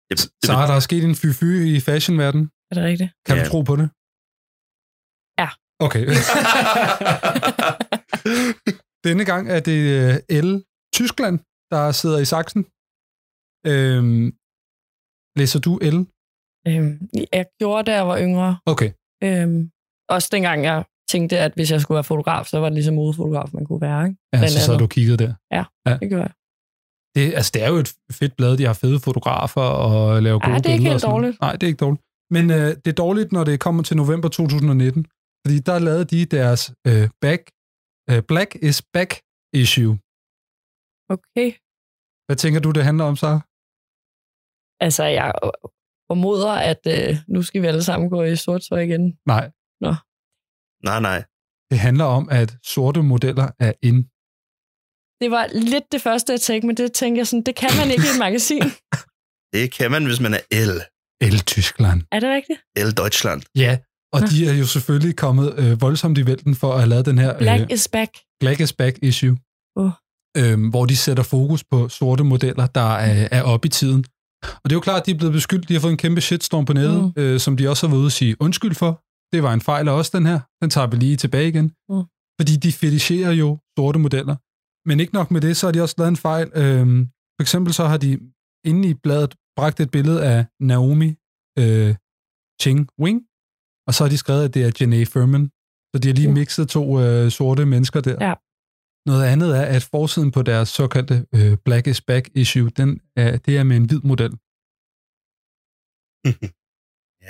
Det, det, Sara, der er sket en fy-fy i fashionverdenen. Er det rigtigt? Kan Ja. du tro på det? Ja. Okay. Denne gang er det øh, L. Tyskland, der sidder i Sachsen. Øhm, læser du L? Øhm, jeg gjorde, da jeg var yngre. Okay. Øhm, også dengang, jeg tænkte, at hvis jeg skulle være fotograf, så var det ligesom modefotograf, man kunne være. Ikke? Ja, Den så er sad der. du og kiggede der. Det gjorde jeg. Det, altså, det er jo et fedt blad, de har fede fotografer og laver Ja, gode det er ikke billeder og helt sådan noget. dårligt. Nej, det er ikke dårligt. Men øh, det er dårligt, når det kommer til november 2019, fordi der lavede de deres øh, back, øh, Black is Back issue. Okay. Hvad tænker du, det handler om, så? Altså, jeg formoder, at øh, nu skal vi alle sammen gå i sort tøj igen. Nej, Nej, nej. det handler om, at sorte modeller er in. Det var lidt det første, jeg tænkte, men det tænkte jeg sådan, det kan man ikke i et magasin. Det kan man, hvis man er L. El-Tyskland. Er det rigtigt? L Deutschland. Ja, og Nå. de er jo selvfølgelig kommet øh, voldsomt i vælten for at have lavet den her Black øh, is back. Black is Back issue, Åh. øhm, hvor de sætter fokus på sorte modeller, der øh, Mm. er oppe i tiden. Og det er jo klart, at de er blevet beskyldt, de har fået en kæmpe shitstorm på nettet, mm. øh, som de også har været ude at sige undskyld for. Det var en fejl af os, den her. Den tager vi lige tilbage igen. Mm. Fordi de fetisherer jo sorte modeller. Men ikke nok med det, så har de også lavet en fejl. Øhm, for eksempel så har de inde i bladet bragt et billede af Naomi øh, Ching Wing, og så har de skrevet, at det er Janae Furman. Så de har lige Mm. mixet to øh, sorte mennesker der. Ja. Noget andet er, at forsiden på deres såkaldte øh, Black is Back issue, den er, det er med en hvid model.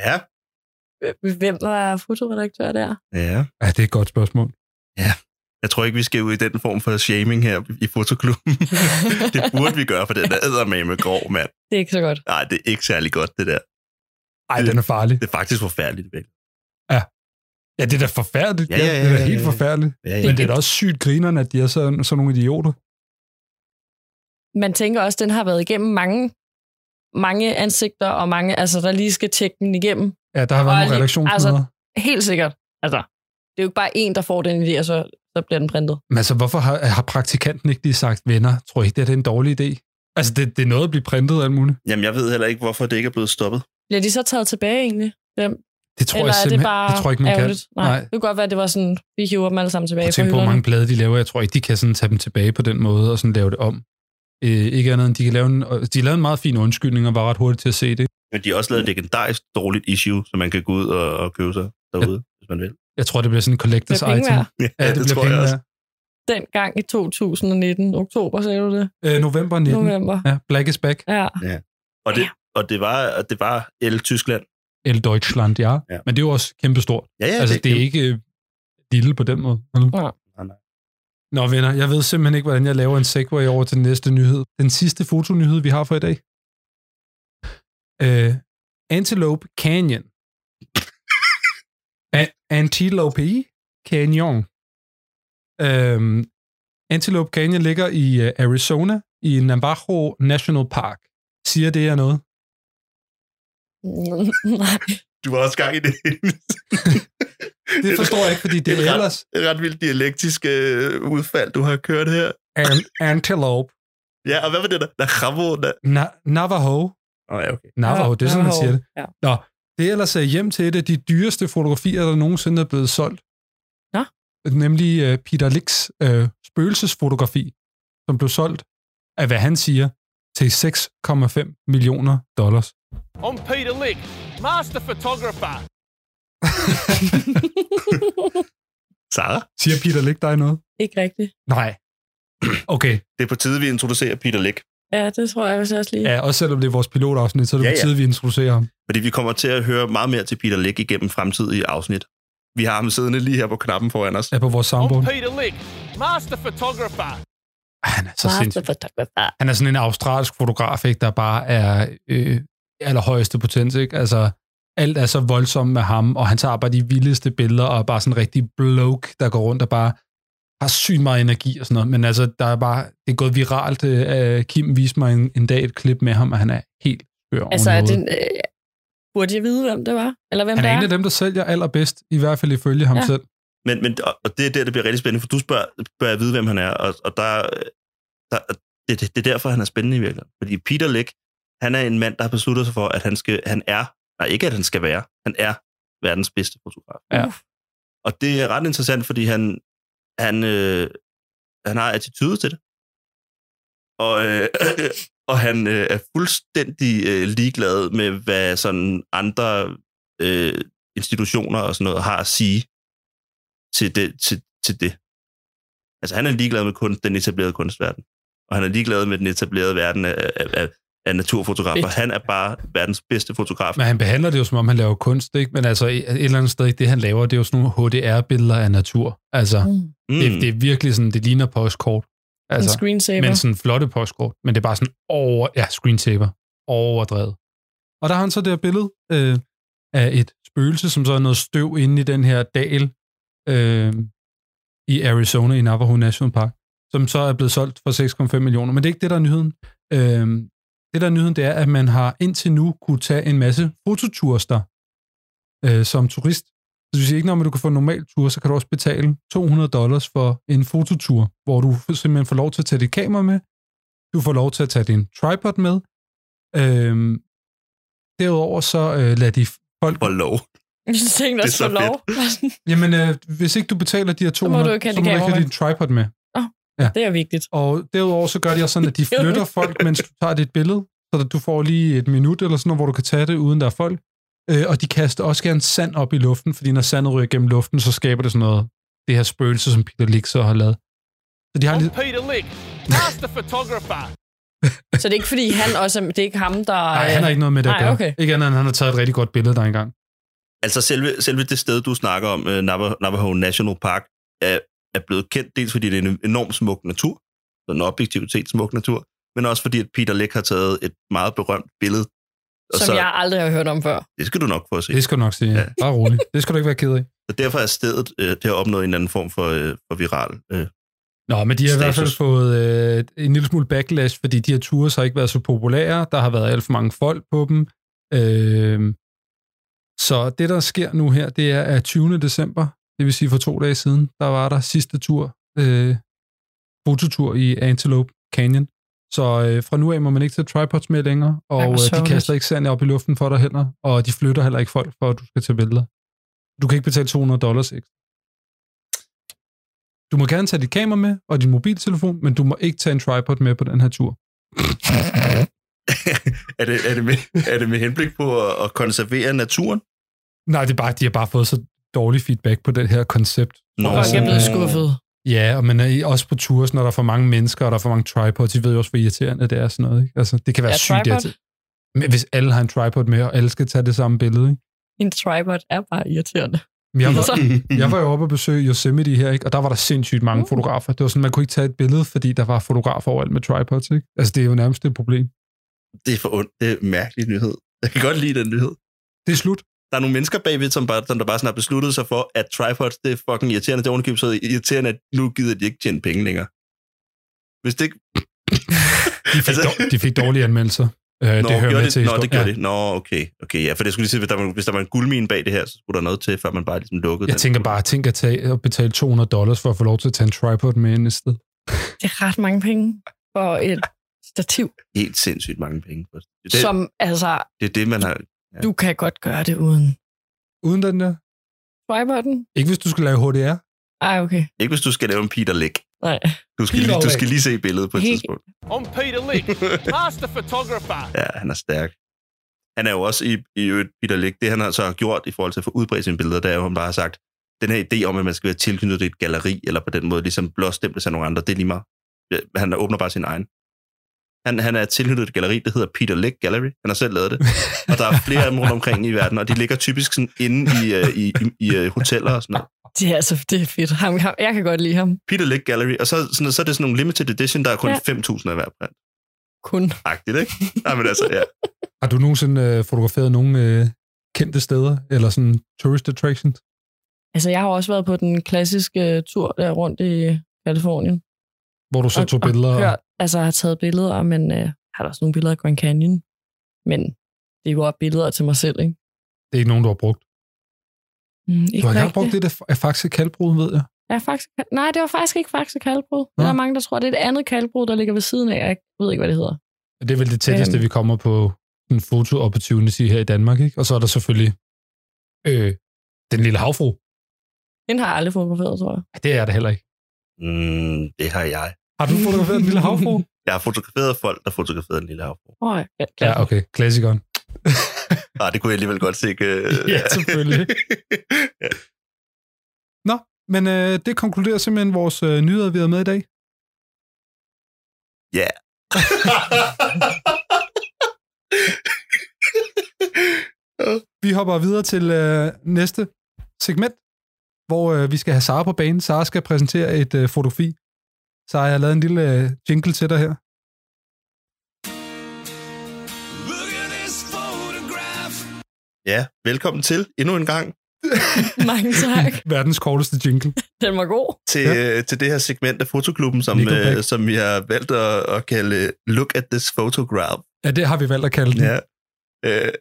Ja. Hvem var fotoredaktør der? Ja. Ja, det er et godt spørgsmål. Jeg tror ikke, vi skal ud i den form for shaming her i fotoklubben. det burde vi gøre, for den er med med grov, mand. Det er ikke så godt. Nej, det er ikke særlig godt, det der. Ej, den er farlig. Det er faktisk forfærdeligt, vel? Ja, det er da forfærdeligt. Ja, ja, ja, det er da ja, helt ja, ja. forfærdeligt. Ja, Men det er da også sygt grinerne, at de er sådan, sådan nogle idioter. Man tænker også, den har været igennem mange, mange ansigter, og mange, altså der lige skal tjekke den igennem. Ja, der har været Og nogle lige- redaktionsmøder. Altså, Helt sikkert. Altså, det er jo ikke bare en, der får den idé, og så, så bliver den printet. Men altså, hvorfor har, har praktikanten ikke lige sagt, venner, tror I ikke, det er, det er en dårlig idé? Altså, det, det er noget at blive printet og alt muligt. Jamen, jeg ved heller ikke, hvorfor det ikke er blevet stoppet. Bliver de så taget tilbage egentlig? Dem? Det tror Eller jeg er det simpelthen, bare det tror jeg ikke, man ærgerligt? kan. Nej. Nej. Det kunne godt være, at det var sådan, vi hiver dem alle sammen tilbage Prøv at fra tænke på, hvor hylderne. mange blade de laver. Jeg tror ikke, de kan sådan tage dem tilbage på den måde og sådan lave det om. Øh, ikke andet end, de kan lave en, og de lavede en meget fin undskyldning og var ret hurtigt til at se det. Men de har også lavet et legendarisk dårligt issue, så man kan gå ud og, og købe sig derude, hvis man vil. Jeg tror, det bliver sådan en collector's Det er penge item. værd. Ja, Ja, det, det bliver penge værd. Den gang i 2019, oktober sagde du det, Øh, november 19. November. november. Ja, Black is Back. Ja. Og det, og det var, og det var El Tyskland. El Deutschland, ja. ja. Ja. Men det er jo også kæmpestort. Ja, ja, altså, det er ikke øh, lille på den måde. Eller? Nej. Nej, nej. Nå venner, jeg ved simpelthen ikke, hvordan jeg laver en segway over til den næste nyhed. Den sidste fotonyhed, vi har for i dag. Uh, Antelope Canyon. A- Antelope Canyon. Uh, Antelope Canyon ligger i uh, Arizona, i Navajo National Park. Siger det jer noget? Nej. Du var også gang i det. Det forstår jeg ikke, fordi det Det er er ellers Et ret vildt dialektisk øh, udfald, du har kørt her. an- Antelope. Ja, og hvad var det der? Der Ramo, der... Na- Navajo. Oh, ja, okay. Navajo, det er sådan, man Navajo. siger det. Ja. Nå, det er ellers øh, hjem til et af de dyreste fotografier, der nogensinde er blevet solgt. Nå. Nemlig øh, Peter Licks øh, spøgelsesfotografi, som blev solgt af, hvad han siger, til 6,5 millioner dollars. I'm Peter Lick, master photographer. Sarah? Siger Peter Lick dig noget? Ikke rigtigt. Nej. Okay, Det er på tide, vi introducerer Peter Læk. Ja, det tror jeg også også lige. ja, også selvom det er vores pilotafsnit, så er det Ja, på ja. tide, vi introducerer ham. Fordi vi kommer til at høre meget mere til Peter Læk igennem fremtidige afsnit. Vi har ham siddende lige her på knappen foran os. Er på vores soundboard. I'm Peter Lick, master photographer. Ej, Han er så Master sindssyg. photographer. Han er sådan en australsk fotograf, ikke, der bare er øh, allerhøjeste potens. Ikke? Altså, alt er så voldsomt med ham, og han tager bare de vildeste billeder, og er bare sådan en rigtig bloke, der går rundt og bare har sygt meget energi og sådan noget. Men altså, der er bare, det er gået viralt. Øh, Kim viste mig en, en dag et klip med ham, og han er helt skør Altså, oven i er det, hovedet. øh, burde jeg vide, hvem det var? Eller hvem Han det er er? en af dem, der sælger allerbedst, i hvert fald ifølge ham ja. Ja. selv. Men, men, og- og det er der, det bliver rigtig spændende, for du spørger, spørger jeg vide, hvem han er, og, og der, der det, det, det, er derfor, han er spændende i virkeligheden. Fordi Peter Læk, han er en mand, der har besluttet sig for, at han, skal, han er, nej ikke at han skal være, han er verdens bedste fotograf. Ja. Og det er ret interessant, fordi han, han, øh, han har attitude til det. Og, øh, og han øh, er fuldstændig øh, ligeglad med, hvad sådan andre øh, institutioner og sådan noget har at sige til det, til, til det. Altså han er ligeglad med kun den etablerede kunstverden. og han er ligeglad med den etablerede verden af, af, af, af naturfotografer. Fedt. Han er bare verdens bedste fotograf. Men han behandler det jo, som om han laver kunst, ikke? Men altså, et et eller andet sted, det han laver, det er jo sådan nogle HDR-billeder af natur. Altså, mm. Mm. det, det er virkelig sådan, det ligner postkort. En Altså, screensaver. men sådan flotte postkort. Men det er bare sådan over, ja, screensaver. Overdrevet. Og der har han så det her billede øh, af et spøgelse, som så er noget støv inde i den her dal øh, i Arizona i Navajo National Park, som så er blevet solgt for 6,5 millioner. Men det er ikke det, der er nyheden. Øh, det, der er nyheden, det er, at man har indtil nu kunne tage en masse fototurster øh, som turist. Så det vil sige, ikke når man du kan få en normal tur, så kan du også betale 200 dollars for en fototur, hvor du simpelthen får lov til at tage dit kamera med, du får lov til at tage din tripod med. Øhm, derudover så øh, lader de folk... For lov. Jeg tænkte Det er også så for lov. Jamen, øh, hvis ikke du betaler de her 200, så du ikke have så dit må du ikke kamera have din tripod med. det er vigtigt. Og derudover så gør de også sådan, at de flytter folk, mens du tager dit billede, så du får lige et minut eller sådan noget, hvor du kan tage det, uden der er folk. Øh, og de kaster også gerne sand op i luften, fordi når sandet ryger gennem luften, så skaber det sådan noget, det her spøgelse, som Peter Lick så har lavet. Så de har I'm lidt... Peter Lick, master photographer. Så det er ikke, fordi han også er, det er ikke ham, der... øh, Nej, han har ikke noget med det at Nej, gøre. okay. Ikke andet end, han har taget et rigtig godt billede der engang. Altså selve, selve det sted, du snakker om, øh, Nava- Navajo National Park, er, er blevet kendt dels fordi det er en enormt smuk natur, sådan objektivt set smuk natur, men også fordi, at Peter Lick har taget et meget berømt billede. Og som så, jeg aldrig har hørt om før. Øh. Det skal du nok få at se. Det skal du nok sige. Ja. Ja. Bare roligt. Det skal du ikke være ked af. Så derfor er stedet, øh, det har opnået en eller anden form for, øh, for viral. Øh. Nå, men de har i hvert fald Status. fået øh, en lille smule backlash, fordi de her ture har ikke været så populære. Der har været alt for mange folk på dem. Øh, så det, der sker nu her, det er at 20. december, det vil sige for to dage siden, der var der sidste tur, øh, fototur i Antelope Canyon. Så øh, fra nu af må man ikke tage tripods med længere, og Ej, hvor øh, de sørgeligt. kaster ikke sand op i luften for dig heller, og de flytter heller ikke folk, for at du skal tage billeder. Du kan ikke betale 200 dollars ekstra. Du må gerne tage dit kamera med og din mobiltelefon, men du må ikke tage en tripod med på den her tur. er, det, er, det med, er det med henblik på at, at konservere naturen? Nej, det er bare, de har bare fået så dårlig feedback på det her koncept. Nå. Og, Folk er blevet øh, skuffet. Ja, og man er i- også på tours, når der er for mange mennesker, og der er for mange tripods. De ved jo også, hvor irriterende det er sådan noget. Ikke? Altså, det kan være Ja, ja, sygt tripod. irriterende. Men hvis alle har en tripod med, og alle skal tage det samme billede. Ikke? En tripod er bare irriterende. Men jeg, var, Altså, jeg var jo oppe og besøge Yosemite her, ikke? og der var der sindssygt mange Mm. fotografer. Det var sådan, man kunne ikke tage et billede, fordi der var fotografer overalt med tripods. Ikke? Altså, det er jo nærmest et problem. Det er for ondt. Det er en mærkelig nyhed. Jeg kan godt lide den nyhed. Det er slut. Der er nogle mennesker bagved, som, bare, som der bare sådan har besluttet sig for, at tripods, det er fucking irriterende. Det er ovenikøbet så irriterende, at nu gider de ikke tjene penge længere. Hvis det ikke... De fik, Altså- dår, de fik dårlige anmeldelser. Øh, Nå, det hører gjorde med det, til Nå, det historien. gjorde ja. det. Nå, okay. Okay, ja, for det skulle lige sige, hvis der, var, hvis der var en guldmine bag det her, så skulle der noget til, før man bare ligesom lukkede Jeg den. tænker bare, tænk at, tage, at betale 200 dollars for at få lov til at tage en tripod med ind i sted. det er ret mange penge for et stativ, Helt sindssygt mange penge. på Det, det, det, som altså, det er det, man har... du kan godt gøre det uden Uden den der. tripoden. Ikke hvis du skal lave HDR. Ej, okay. Ikke hvis du skal lave en Peter Lick. Nej. Du skal, Peter lige, du Lick. skal lige se billedet på et Helt- tidspunkt. I'm Peter Lick, master photographer. Ja, han er stærk. Han er jo også i, i øvrigt, Peter Lick, det han har så har gjort i forhold til at få udbredt sine billeder, der er jo, han bare har sagt, den her idé om, at man skal være tilknyttet et galeri, eller på den måde ligesom blåstemples af nogle andre, det er lige meget. Ja, Han åbner bare sin egen. Han, han er tilknyttet et galeri, der hedder Peter Lick Gallery. Han har selv lavet det. Og der er flere af dem rundt omkring i verden, og de ligger typisk sådan inde i, øh, i, i, i øh, hoteller og sådan noget. Det er altså det er fedt. Ham, ham, jeg kan godt lide ham. Peter Lick Gallery, og så, sådan, så er det sådan nogle limited edition, der er kun Ja. ja. 5.000 af hver print. Kun. Agtigt, ikke? Nej, men altså, ja. Har du nogensinde øh, fotograferet nogle øh, kendte steder, eller sådan tourist attractions? Altså, jeg har også været på den klassiske tur der rundt i Kalifornien. Hvor du så tog billeder? Og, hørt, altså, har taget billeder, men øh, har der også nogle billeder af Grand Canyon. Men det er jo også billeder til mig selv, ikke? det er ikke nogen, du har brugt. Mm, ikke Du har ikke rigtigt. brugt det der er faktisk kalbrud, ved jeg. Ja, faktisk, nej, det var faktisk ikke faktisk et kalbrud. Nå. Der er mange, der tror, det er et andet kalbrud, der ligger ved siden af. Jeg ved ikke, hvad det hedder. Men Det er vel det tætteste, Øhm. vi kommer på en foto opportunity her i Danmark, ikke? Og så er der selvfølgelig øh, den lille havfru. Den har jeg aldrig fotograferet, tror jeg. Ej, Det er det heller ikke. Mm, det har jeg. Har du fotograferet den lille havfru? Jeg har fotograferet folk, der fotograferede en lille havfru. Åh, oh, ja, ja, klart. okay. Klassikeren. Ah, det kunne jeg alligevel godt se. Ikke? øh, Ja, selvfølgelig. Men øh, det konkluderer simpelthen vores øh, nyheder, vi har med i dag. Ja. Vi hopper videre til øh, næste segment, hvor øh, vi skal have Sara på banen. Sara skal præsentere et øh, fotografi. Sara, jeg har lavet en lille øh, jingle til dig her. Ja, velkommen til endnu en gang Mange tak. Verdens korteste jingle. Den var god. til, Ja. ja. øh, til det her segment af Fotoklubben, som, Nickelback. øh, som vi har valgt at, at kalde øh, Look at this photograph. Ja, det har vi valgt at kalde den. Ja. Øh,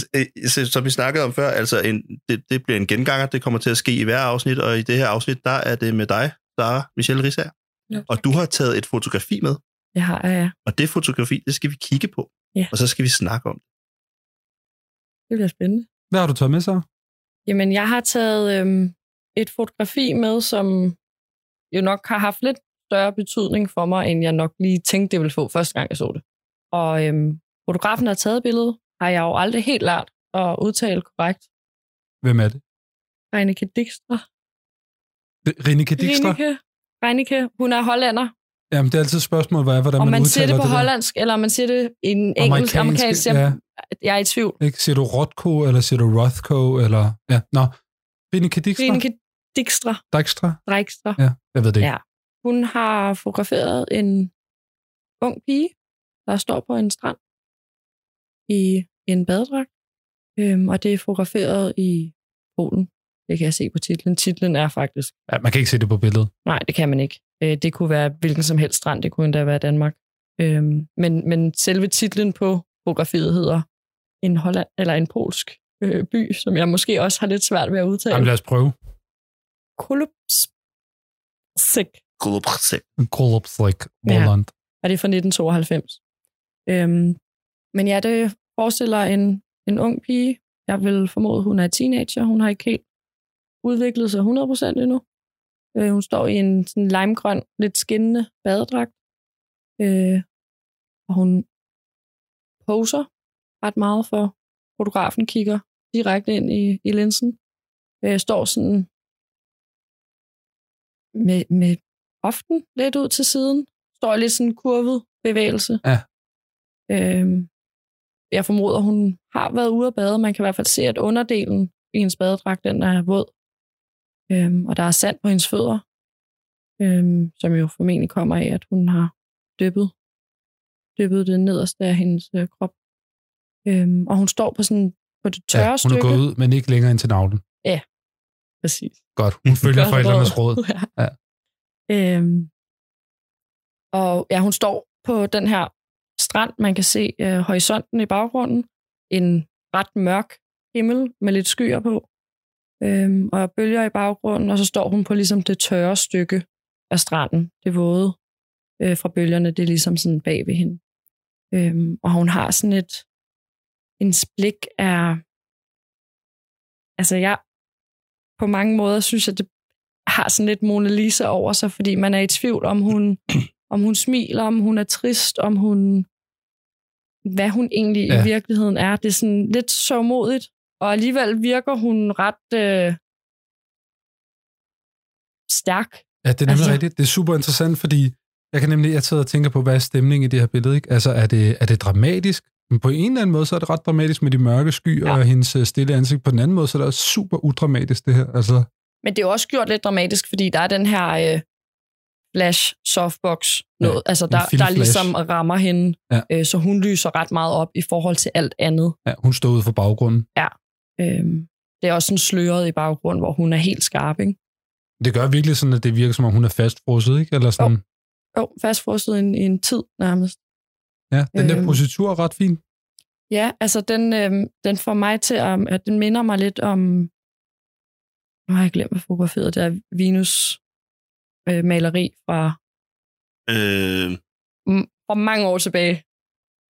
s- øh, så, som vi snakkede om før, altså en, det, det bliver en genganger, det kommer til at ske i hver afsnit, og i det her afsnit, der er det med dig, Sara Michelle Risser. Ja, Og du har taget et fotografi med, Jeg har, ja, ja. og det fotografi, det skal vi kigge på, Ja. og så skal vi snakke om det. Det bliver spændende. Hvad har du taget med, Sara? Jamen, jeg har taget øhm, et fotografi med, som jo nok har haft lidt større betydning for mig, end jeg nok lige tænkte, det ville få første gang, jeg så det. Og øhm, fotografen, der har taget billedet, har jeg jo aldrig helt lært at udtale korrekt. Hvem er det? Reineke Dijkstra. Rinnike Dijkstra? Reineke, Reineke, hun er hollander, Jamen, det er altid et spørgsmål, hvad, hvordan og man, man udtaler siger det på der. hollandsk, eller man siger det i en engelsk, amerikansk. Jeg, ja, jeg er i tvivl. ikke? Siger du Rothko, eller siger du Rothko, eller... Ja, nå. Rinnike Dijkstra? Reineke Dijkstra. Dijkstra? Dijkstra. Ja, jeg ved det ikke. Ja. Hun har fotograferet en ung pige, der står på en strand i en badedragt. Øhm, og det er fotograferet i Polen. Det kan jeg se på titlen. Titlen er faktisk... Ja, man kan ikke se det på billedet. Nej, det kan man ikke. Øh, det kunne være hvilken som helst strand. Det kunne endda være Danmark. Øhm, men, men selve titlen på fotografiet hedder en, Holland, eller en polsk øh, by, som jeg måske også har lidt svært ved at udtale. Jamen, lad os prøve. Kolopsik. Kolopse. Kolopslik, Ja. Roland. og det er fra 1992. Øhm, men ja, det forestiller en, en ung pige. Jeg vil formode, hun er teenager. Hun har ikke helt udviklet sig 100% endnu. Øh, hun står i en sådan limegrøn, lidt skinnende badedragt. Øh, og hun poser ret meget for fotografen, kigger direkte ind i, i linsen. Øh, står sådan med, med hoften lidt ud til siden, står i lidt sådan en kurvet bevægelse. Ja. Øhm, jeg formoder, hun har været ude at bade. Man kan i hvert fald se, at underdelen i hendes badedragt, den er våd. Øhm, og der er sand på hendes fødder, øhm, som jo formentlig kommer af, at hun har dyppet, dyppet det nederste af hendes øh, krop. Øhm, og hun står på, sådan, på det tørre ja, hun stykke. er gået ud, men ikke længere ind til navlen. Præcis. Godt, hun følger Mm. Godt forældrenes råd. Ja. ja. Øhm, og ja, hun står på den her strand. Man kan se øh, horisonten i baggrunden. En ret mørk himmel med lidt skyer på. Øhm, og bølger i baggrunden, og så står hun på ligesom det tørre stykke af stranden. Det våde øh, fra bølgerne, det er ligesom sådan bag ved hende. Øhm, og hun har sådan et... En blik er... Altså, jeg på mange måder synes jeg, det har sådan lidt Mona Lisa over sig, fordi man er i tvivl, om hun, om hun smiler, om hun er trist, om hun hvad hun egentlig ja. Ja. i virkeligheden er. Det er sådan lidt sørgmodigt, og alligevel virker hun ret øh, stærk. Ja, det er nemlig Altså- altså... rigtigt. Det er super interessant, fordi jeg kan nemlig, jeg sidder og tænker på, hvad er stemningen i det her billede, ikke? Altså, er det, er det dramatisk? Men på en eller anden måde, så er det ret dramatisk med de mørke skyer ja. Ja. og hendes øh, stille ansigt. På den anden måde, så er det også super udramatisk, det her. Altså, Men det er jo også gjort lidt dramatisk, fordi der er den her øh, flash softbox, noget, ja, altså der, der filmflash. ligesom rammer hende, Ja. ja. øh, så hun lyser ret meget op i forhold til alt andet. ja, hun står ude for baggrunden. Øhm, det er også sådan sløret i baggrunden, hvor hun er helt skarp, ikke? Det gør virkelig sådan, at det virker, som om hun er fastfrosset, ikke? Eller sådan. Jo, fastfrosset i en, i en tid nærmest. Ja, den der Øhm. positur er ret fin. Ja, altså den, øhm, den får mig til at, at den minder mig lidt om, nu har jeg glemt, hvad fotograferet det er, Venus øh, maleri fra, Øh, m- fra mange år tilbage.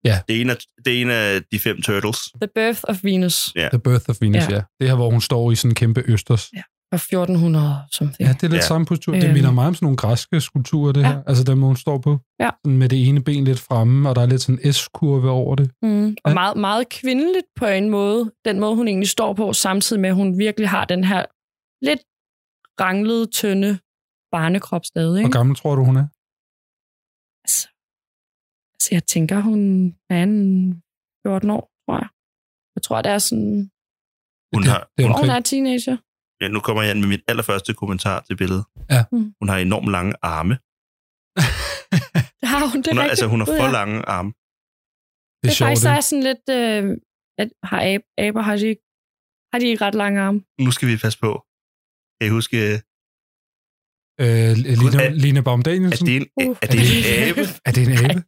det, er en af, det er en af de fem turtles. The Birth of Venus Ja. The Birth of Venus, ja. Ja. ja. Det her, hvor hun står i sådan en kæmpe østers. fra 1400 something. Ja, det er lidt Ja. samme positur. Det Øhm. minder meget om sådan nogle græske skulpturer, det Ja. her. Altså dem, hvor hun står på. Ja. Sådan med det ene ben lidt fremme, og der er lidt sådan en S-kurve over det. Mm. Ja. Og meget, meget kvindeligt på en måde. Den måde, hun egentlig står på, samtidig med, at hun virkelig har den her lidt ranglede, tynde barnekrop stadig. Hvor Ikke? gammel tror du, hun er? Så Altså, jeg tænker, hun er en 14 år, tror jeg. Jeg tror, det er sådan... Hun det, har, det er Okay. Hun omkring. er teenager. ja, nu kommer jeg ind med min allerførste kommentar til billedet. Ja. Mm. Hun har enormt lange arme. Det har hun, det er Hun har, rigtigt. altså, hun har Gud, for ja. lange arme. Det er faktisk, det. så er sådan lidt... Øh, at har ab, aber, har de, ikke- har de ikke ret lange arme? Nu skal vi passe på. Kan I huske, øh, Øh, Line, Hun er- Line Baum er Danielsen. det en, Uh. er det en abe? Er det en abe?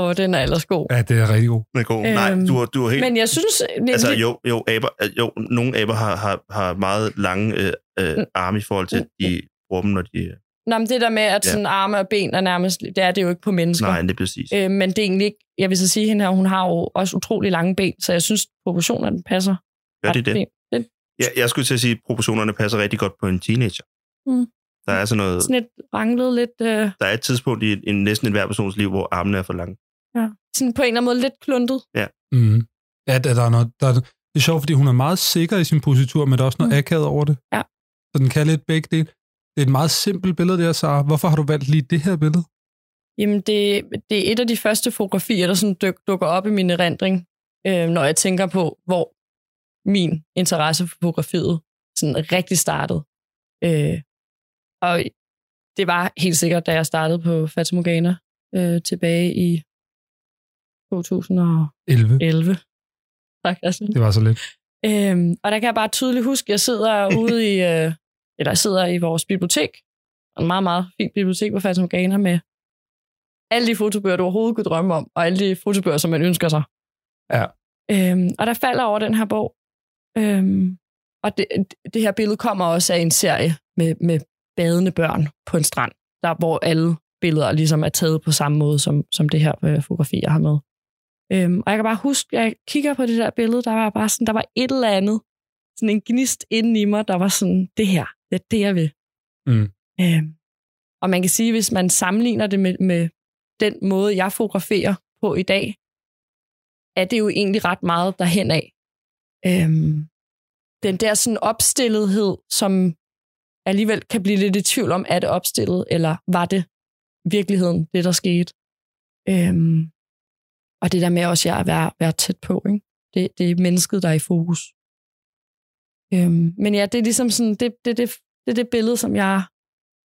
Åh, den er ellers god. Ja, det er rigtig god. Den er god. Nej, Øhm, du har, du har helt... Men jeg synes... Det, Altså det, jo, jo, aber, jo nogle aber har, har, har meget lange øh, øh, Mm. arme i forhold til, at de bruger dem, når de... nå, men det der med, at Ja. sådan arme og ben er nærmest... Det er det jo ikke på mennesker. Nej, det er præcis. Øh, men det er egentlig ikke... Jeg vil så sige, at hende her, hun har jo også utrolig lange ben, så jeg synes, proportionerne passer. Gør ret de det? fint. Ja, jeg skulle til at sige, at proportionerne passer rigtig godt på en teenager. Mm. Der er sådan noget... Sådan lidt ranglet, lidt... Øh, Der er et tidspunkt i en, næsten enhver persons liv, hvor armene er for lange. sådan på en eller anden måde lidt kluntet. Mm. Ja, der, der er noget, der, er- det er sjovt, fordi hun er meget sikker i sin positur, men der er også noget mm. Mm. akavet over det. Ja. Så den kan lidt begge dele. Det er et meget simpelt billede der, Sara. Hvorfor har du valgt lige det her billede? Jamen, det, det er et af de første fotografier, der sådan duk, dukker op i min erindring, øh, når jeg tænker på, hvor min interesse for fotografiet sådan rigtig startede. Øh, og det var helt sikkert, da jeg startede på Fatamorgana øh, tilbage i 2011. 11. Tak, Christian. Det var så lidt. Øhm, og der kan jeg bare tydeligt huske, at jeg sidder ude i, øh, eller jeg sidder i vores bibliotek, en meget, meget fin bibliotek på Fata Morgana med alle de fotobøger, du overhovedet kunne drømme om, og alle de fotobøger, som man ønsker sig. Ja. Øhm, og der falder over den her bog, øhm, og det, det her billede kommer også af en serie med, med badende børn på en strand, der hvor alle billeder ligesom er taget på samme måde, som, som det her øh, fotografi, jeg har med. Øhm, og jeg kan bare huske, jeg kigger på det der billede, der var bare sådan, der var et eller andet, sådan en gnist inden i mig, der var sådan, det her, det er det, jeg vil. Mm. Øhm, og man kan sige, hvis man sammenligner det med, med den måde, jeg fotograferer på i dag, er det jo egentlig ret meget derhen af. Øhm, den der sådan opstillethed, som alligevel kan blive lidt i tvivl om, er det opstillet, eller var det virkeligheden, det der skete? Øhm, og det der med også jeg at være, være tæt på, ikke? Det, det er mennesket, der er i fokus. Øhm, men ja, det er ligesom sådan, det, det, det, det er det billede, som jeg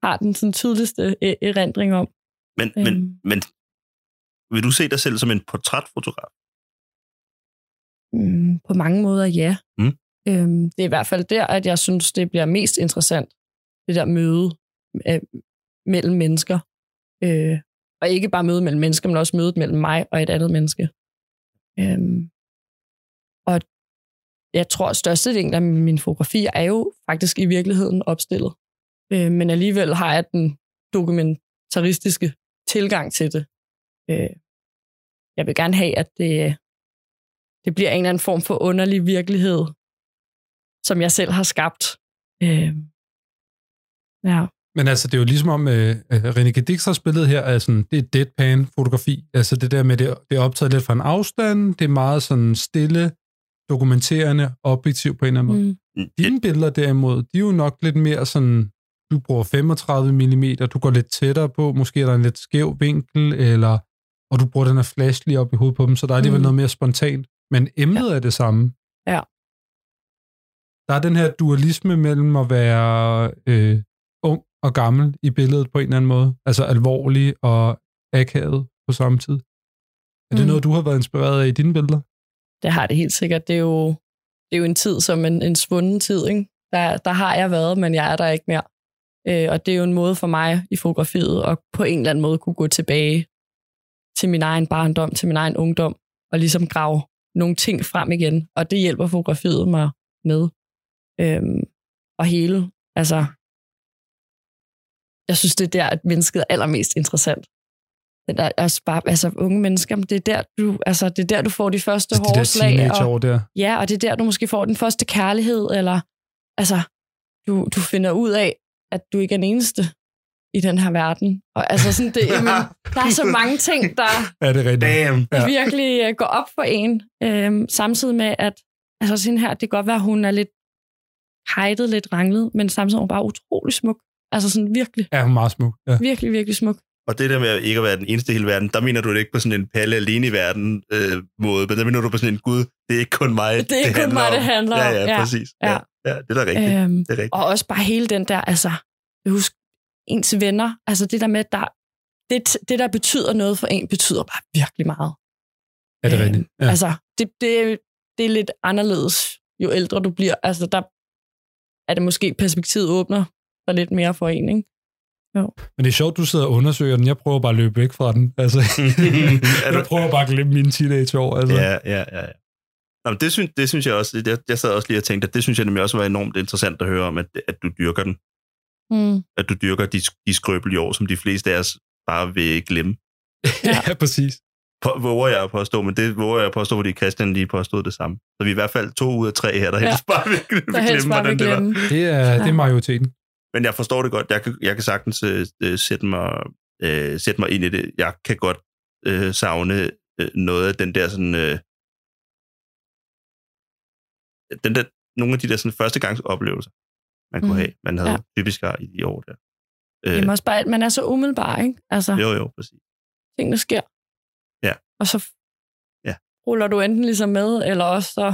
har den sådan tydeligste øh, erindring om. Men, men, Øhm. men vil du se dig selv som en portrætfotograf? Mm, på mange måder, ja. Mm. Øhm, det er i hvert fald der, at jeg synes, det bliver mest interessant, det der møde øh, mellem mennesker. Øh, og ikke bare møde mellem mennesker, men også mødet mellem mig og et andet menneske. Øhm, og jeg tror, at størstedelen af mine fotografier er jo faktisk i virkeligheden opstillet. Øh, men alligevel har jeg den dokumentaristiske tilgang til det. Øh, jeg vil gerne have, at det det bliver en eller anden form for underlig virkelighed, som jeg selv har skabt. Øh, ja. Men altså, det er jo ligesom om øh, øh, René Gedixers billede her, er sådan, det er deadpan-fotografi. Altså det der med, det, det er optaget lidt fra en afstand, det er meget sådan stille, dokumenterende, objektiv på en eller anden måde. Mm. Dine billeder derimod, de er jo nok lidt mere sådan, du bruger 35 mm, du går lidt tættere på, måske er der en lidt skæv vinkel, eller, og du bruger den her flash lige op i hovedet på dem, så der er alligevel Mm. noget mere spontant. Men emnet ja. er det samme. Ja. Der er den her dualisme mellem at være øh, ung og gammel i billedet på en eller anden måde, altså alvorlig og akavet på samme tid. Er det Mm. noget, du har været inspireret af i dine billeder? Det har det helt sikkert. Det er jo, det er jo en tid som en, en svunden tid. Ikke? Der, der har jeg været, men jeg er der ikke mere. Øh, og det er jo en måde for mig i fotografiet at på en eller anden måde kunne gå tilbage til min egen barndom, til min egen ungdom, og ligesom grave nogle ting frem igen. Og det hjælper fotografiet mig med. Øhm, og hele, altså, jeg synes, det er der, at mennesket er allermest interessant. Den der, altså, bare, altså unge mennesker, men det er der, du, altså, det er der, du får de første Så Altså, de hårde der slag. Og, teenageår der. Ja, og det er der, du måske får den første kærlighed, eller altså, du, du finder ud af, at du ikke er den eneste i den her verden. Og altså sådan det, jamen, der er så mange ting, der Er det rigtigt? Damn! Ja. ja. virkelig øh, går op for en, øhm, samtidig med, at altså sådan her, det kan godt være, at hun er lidt hejtet, lidt ranglet, men samtidig er hun bare utrolig smuk. Altså sådan virkelig, Ja, hun er meget smuk. Ja. virkelig, virkelig smuk. Og det der med ikke at være den eneste i hele verden, der mener du det ikke på sådan en palle alene i verden øh, måde, men der mener du på sådan en gud, det er ikke kun mig, Det er ikke kun mig, om. det handler om. Ja, ja, Ja, præcis. Ja, ja. ja det er da rigtigt. Øhm, det er rigtigt. Og også bare hele den der, altså, husk ens venner, altså det der med, at der, det, det der betyder noget for en, betyder bare virkelig meget. Er det rigtigt? Ja. Ja. Altså, det, det, det er lidt anderledes, jo ældre du bliver. Altså, der er det måske perspektivet åbner sig lidt mere for en, ikke? Men det er sjovt, du sidder og undersøger den. Jeg prøver bare at løbe væk fra den. Altså, Er jeg du- prøver bare at glemme mine teenageår. Altså. Ja, ja, ja. ja. Nå, men det, synes, det synes jeg også, jeg, jeg sad også lige og tænkte, at det synes jeg nemlig også var enormt interessant at høre om, at, at du dyrker den. Mm. At du dyrker de, de skrøbeljår, som de fleste af os bare vil glemme. ja. ja præcis. På, våger jeg at påstå, men det våger jeg at påstå, fordi Christian lige påstod det samme. Så vi er i hvert fald to ud af tre her, der helst ja. bare vil, vil Der helst glemme, bare hvordan vil det var. glemme. Det er, ja. det er majoriteten. Men jeg forstår det godt. Jeg kan, jeg kan sagtens øh, øh, sætte, mig, øh, sætte mig ind i det. Jeg kan godt øh, savne øh, noget af den der sådan... Øh, den der, nogle af de der sådan førstegangsoplevelser, man kunne Mhm. have, man havde Ja. ja. typisk har i de år der. Øh, Jamen også bare, at man er så umiddelbar, ikke? Altså, jo, jo, præcis. tingene sker. Ja. Og så Ja. ruller du enten ligesom med, eller også så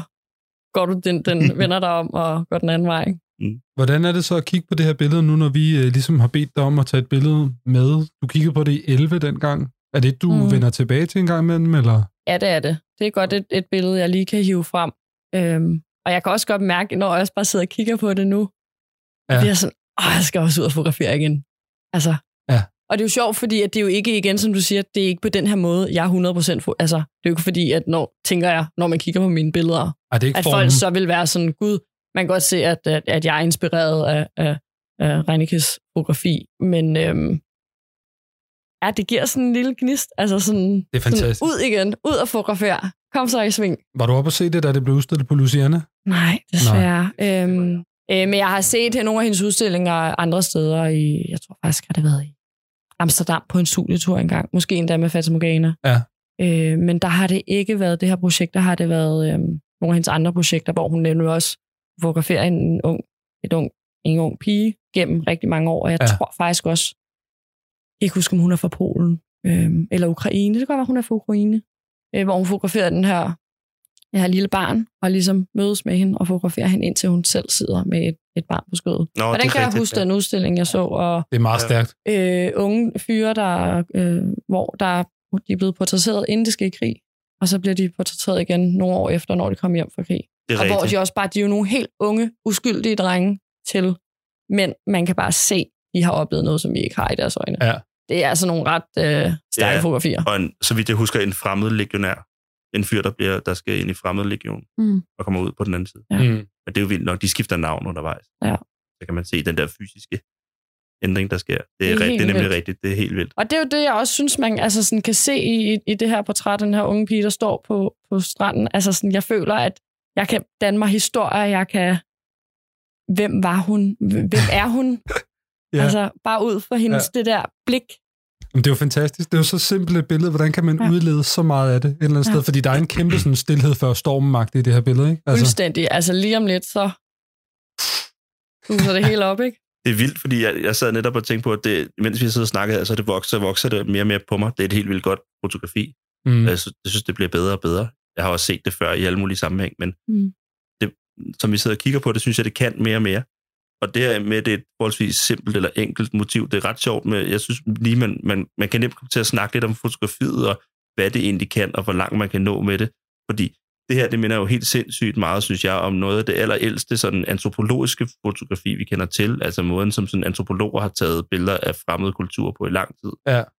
går du den, den vender dig om og går den anden vej, ikke? Hvordan er det så at kigge på det her billede nu, når vi øh, ligesom har bedt dig om at tage et billede med? Du kiggede på det i 11 dengang. Er det et, du Mhm. mm. vender tilbage til en gang imellem, eller? Ja, det er det. Det er godt et, et billede, jeg lige kan hive frem. Øhm, og jeg kan også godt mærke, når jeg også bare sidder og kigger på det nu, Ja. ja. bliver jeg sådan, åh, jeg skal også ud og fotografere igen. Altså. Ja. Og det er jo sjovt, fordi at det er jo ikke igen, som du siger, det er ikke på den her måde, jeg er 100% for. Altså, det er jo ikke fordi, at når, tænker jeg, når man kigger på mine billeder, Ej, det er ikke at formen. folk så vil være sådan, gud, man kan godt se, at, at, at jeg er inspireret af, af, af Reineckes fotografi, men øhm, ja, det giver sådan en lille gnist, altså sådan, Det er fantastisk. sådan ud igen, ud og fotografere, kom så i sving. Var du oppe og se det, da det blev udstillet på Luciana? Nej, desværre. Nej. Øhm, øh, men jeg har set nogle af hendes udstillinger andre steder i, jeg tror faktisk, har det været i Amsterdam på en studietur engang. Måske endda med Fata Morgana. Ja. Øh, men der har det ikke været det her projekt. Der har det været øhm, nogle af hendes andre projekter, hvor hun nemlig også fotograferer en ung, et ung, en ung pige gennem rigtig mange år. Og jeg Ja. ja. tror faktisk også, jeg kan ikke huske, om hun er fra Polen øhm, eller Ukraine. Det kan godt være, hun er fra Ukraine. Øh, hvor hun fotograferer den her jeg har et lille barn, og ligesom mødes med hende og fotograferer hende, indtil hun selv sidder med et, et barn på skødet. Nå, Og det den er kan jeg rigtigt, huske ja. den udstilling, jeg så, og Det er meget Ja. stærkt. øh, unge fyre, der, øh, hvor der, de er blevet portrætteret, inden de skal i krig, og så bliver de portrætteret igen nogle år efter, når de kommer hjem fra krig. Det er Og hvor rigtigt. de også bare, de er jo nogle helt unge, uskyldige drenge til mænd. Man kan bare se, de har oplevet noget, som vi ikke har i deres øjne. Ja. Det er altså nogle ret øh, stærke Ja. ja. fotografier. Og en, så vidt jeg husker, en fremmed legionær. En fyr, der, bliver, der skal ind i fremmed legion Mm. og kommer ud på den anden side. Ja. Mm. Men det er jo vildt nok, de skifter navn undervejs. Ja. Så kan man se den der fysiske ændring, der sker. Det er, Det er det er, det helt er nemlig vildt. rigtigt. Det er helt vildt. Og det er jo det, jeg også synes, man altså sådan, kan se i, i, i det her portræt, den her unge pige, der står på, på stranden. Altså sådan, jeg føler, at jeg kan danne mig historier, jeg kan... Hvem var hun? Hvem er hun? Ja. ja. Altså, bare ud for hendes ja. det der blik. Jamen, det er jo fantastisk. Det er jo så simpelt et billede. Hvordan kan man Ja. ja. udlede så meget af det et eller andet Ja. ja. sted? Fordi der er en kæmpe sådan, stillhed før stormenmagt i det her billede, ikke? Altså. Fuldstændig. Altså, lige om lidt, så huser det hele op, ikke? Det er vildt, fordi jeg, jeg sad netop og tænkte på, at det, mens vi sidder og snakkede, altså det vokser, vokser det mere og mere på mig. Det er et helt vildt godt fotografi. mm. Mm. Jeg, synes, jeg synes, det bliver bedre og bedre. Jeg har også set det før i alle mulige sammenhæng, men Mm. det, som vi sidder og kigger på, det synes jeg, det kan mere og mere. Og det her med, det er et forholdsvis simpelt eller enkelt motiv, det er ret sjovt. Med, jeg synes lige, man, man, man kan nemt komme til at snakke lidt om fotografiet, og hvad det egentlig kan, og hvor langt man kan nå med det. Fordi det her, det minder jo helt sindssygt meget, synes jeg, om noget af det allerældste sådan antropologiske fotografi, vi kender til. Altså måden, som sådan antropologer har taget billeder af fremmede kulturer på i lang tid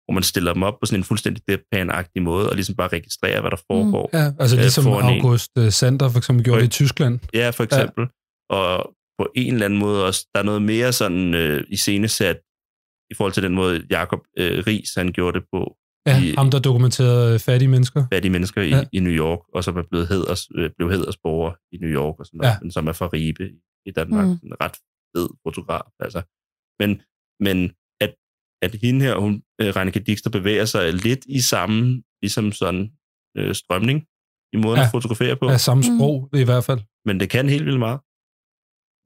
hvor man stiller dem op på sådan en fuldstændig deadpan-agtig måde, og ligesom bare registrerer, hvad der foregår. Mm. Ja, altså Øh, ligesom foran en. August øh, Sander for eksempel gjorde Ryg. det i Tyskland. Ja, for eksempel. Ja. Og på en eller anden måde også, der er noget mere sådan øh, iscenesat i forhold til den måde, Jacob øh, Ries, han gjorde det på. Ja, I- ham der dokumenterede øh, fattige mennesker. Fattige mennesker i, Ja. ja. i New York, og som er blevet heders, øh, blev hedersborger i New York, og sådan noget, Ja. ja. men som er fra Ribe i Danmark. Mm. Mm. En ret fed fotograf, altså. Men, men at, at hende her, hun, øh, Ranneke Dixter, bevæger sig lidt i samme ligesom sådan øh, strømning i måden Ja. ja. at fotografere på. Af samme sprog i hvert fald. men det kan helt vildt meget.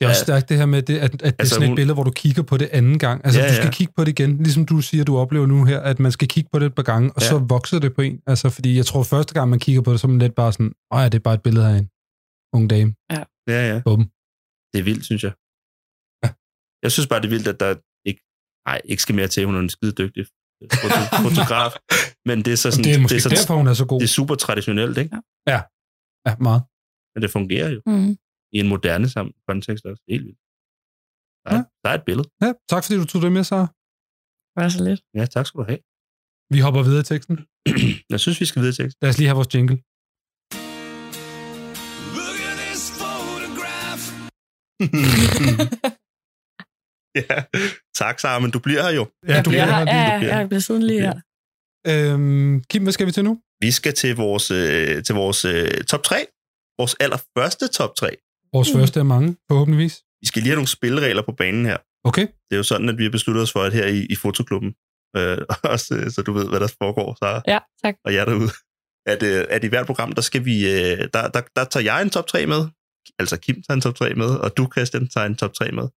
Det er også Ja. stærkt det her med, det, at, at det er Altså, sådan et hun- billede, hvor du kigger på det anden gang. Altså, Ja, ja, du skal ja. kigge på det igen, ligesom du siger, du oplever nu her, at man skal kigge på det et par gange, og Ja. så vokser det på en. Altså, fordi jeg tror, første gang, man kigger på det, så er man lidt bare sådan, åh ja, det er bare et billede af en ung dame. Ja, ja. Bum. Det er vildt, synes jeg. Ja. Jeg synes bare, det er vildt, at der ikke, nej, ikke skal mere til, hun er en skide dygtig foto- fotograf. Men det er så Og sådan, det er måske det er sådan, derfor, hun er så god. det er super traditionelt, ikke? Ja, meget. Men det fungerer jo Mm. i en moderne sammen kontekst også. Helt vildt. Der er, Ja. der er et billede. Ja, tak fordi du tog det med, så. Var så lidt. Ja, tak skal du have. Vi hopper videre i teksten. Jeg synes, vi skal videre til teksten. Lad os lige have vores jingle. ja. Tak, Sara, men du bliver her jo. Ja, du jeg, kender har, den. ja, bliver. ja, jeg bliver siden lige Du her. Øhm, Kim, hvad skal vi til nu? Vi skal til vores, øh, til vores øh, top 3. Vores allerførste top 3. Vores Mm. første af mange, forhåbentligvis. Vi skal lige have nogle spilleregler på banen her. Okay. Det er jo sådan, at vi har besluttet os for, at her i, i fotoklubben, øh, også, øh, så du ved, hvad der foregår, Sara, Ja, tak. og jeg derude, at, øh, at i hvert program, der skal vi, øh, der, der, der tager jeg en top 3 med, altså Kim tager en top 3 med, og du, Christian, tager en top 3 med.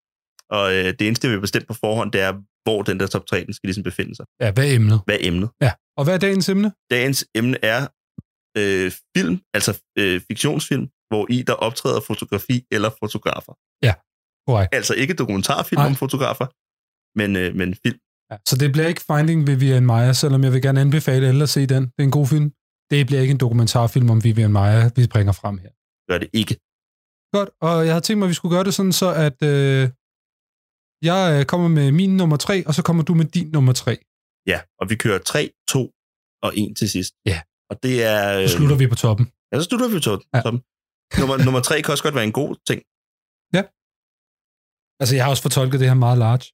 Og øh, det eneste, vi har bestemt på forhånd, det er, hvor den der top 3 den skal ligesom befinde sig. Ja, hvad er emnet? Hvad er emnet? Og hvad er dagens emne? Dagens emne er øh, film, altså øh, fiktionsfilm, hvor i der optræder fotografi eller fotografer. Korrekt. Altså ikke dokumentarfilm Nej. om fotografer, men, øh, men film. Ja. Så det bliver ikke Finding Vivian Maya, selvom jeg vil gerne anbefale alle at se den. Det er en god film. Det bliver ikke en dokumentarfilm om Vivian Maya, vi bringer frem her. Gør det ikke. Godt, og jeg havde tænkt mig, at vi skulle gøre det sådan, så at øh, jeg øh, kommer med min nummer tre, og så kommer du med din nummer tre. Ja, og vi kører 3, 2 og 1 til sidst. Ja. Og det er... Så slutter vi på toppen. Ja, så slutter vi to. Ja. Ja. Nummer, nummer 3 kan også godt være en god ting. Altså, jeg har også fortolket det her meget large.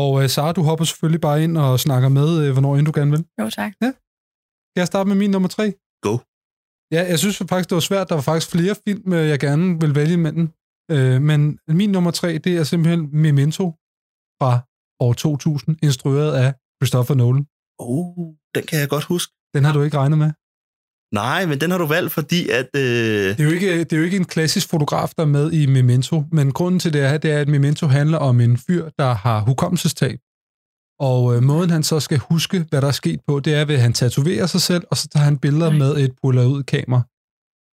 Og øh, Sara, du hopper selvfølgelig bare ind og snakker med, øh, hvornår end du gerne vil. Jo, tak. Skal jeg starte med min nummer tre? Go. Ja, jeg synes faktisk, det var svært. Der var faktisk flere film, øh, jeg gerne vil vælge imellem. Øh, men min nummer tre, det er simpelthen Memento fra år 2000, instrueret af Christopher Nolan. Oh, den kan jeg godt huske. Den har du ikke regnet med. Nej, men den har du valgt, fordi at... Øh, Det er, jo ikke, det er jo ikke en klassisk fotograf, der er med i Memento, men grunden til det er, det er, at Memento handler om en fyr, der har hukommelsestab. Og øh, måden, han så skal huske, hvad der er sket på, det er, ved at han tatoverer sig selv, og så tager han billeder Nej. med et puller ud kamera.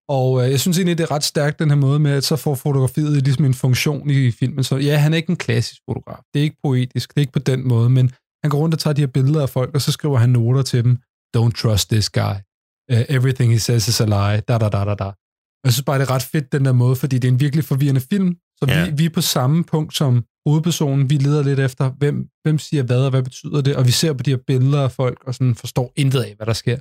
Og øh, jeg synes egentlig, det er ret stærkt, den her måde med, at så får fotografiet ligesom en funktion i filmen. Så ja, han er ikke en klassisk fotograf. Det er ikke poetisk, det er ikke på den måde, men han går rundt og tager de her billeder af folk, og så skriver han noter til dem. Don't trust this guy. Uh, everything he says is a lie. Da, da, da, da, da. Jeg synes bare, det er ret fedt den der måde, fordi det er en virkelig forvirrende film. Så ja. Ja. vi, vi er på samme punkt som hovedpersonen. Vi leder lidt efter, hvem, hvem siger hvad, og hvad betyder det? Og vi ser på de her billeder af folk, og sådan forstår intet af, hvad der sker.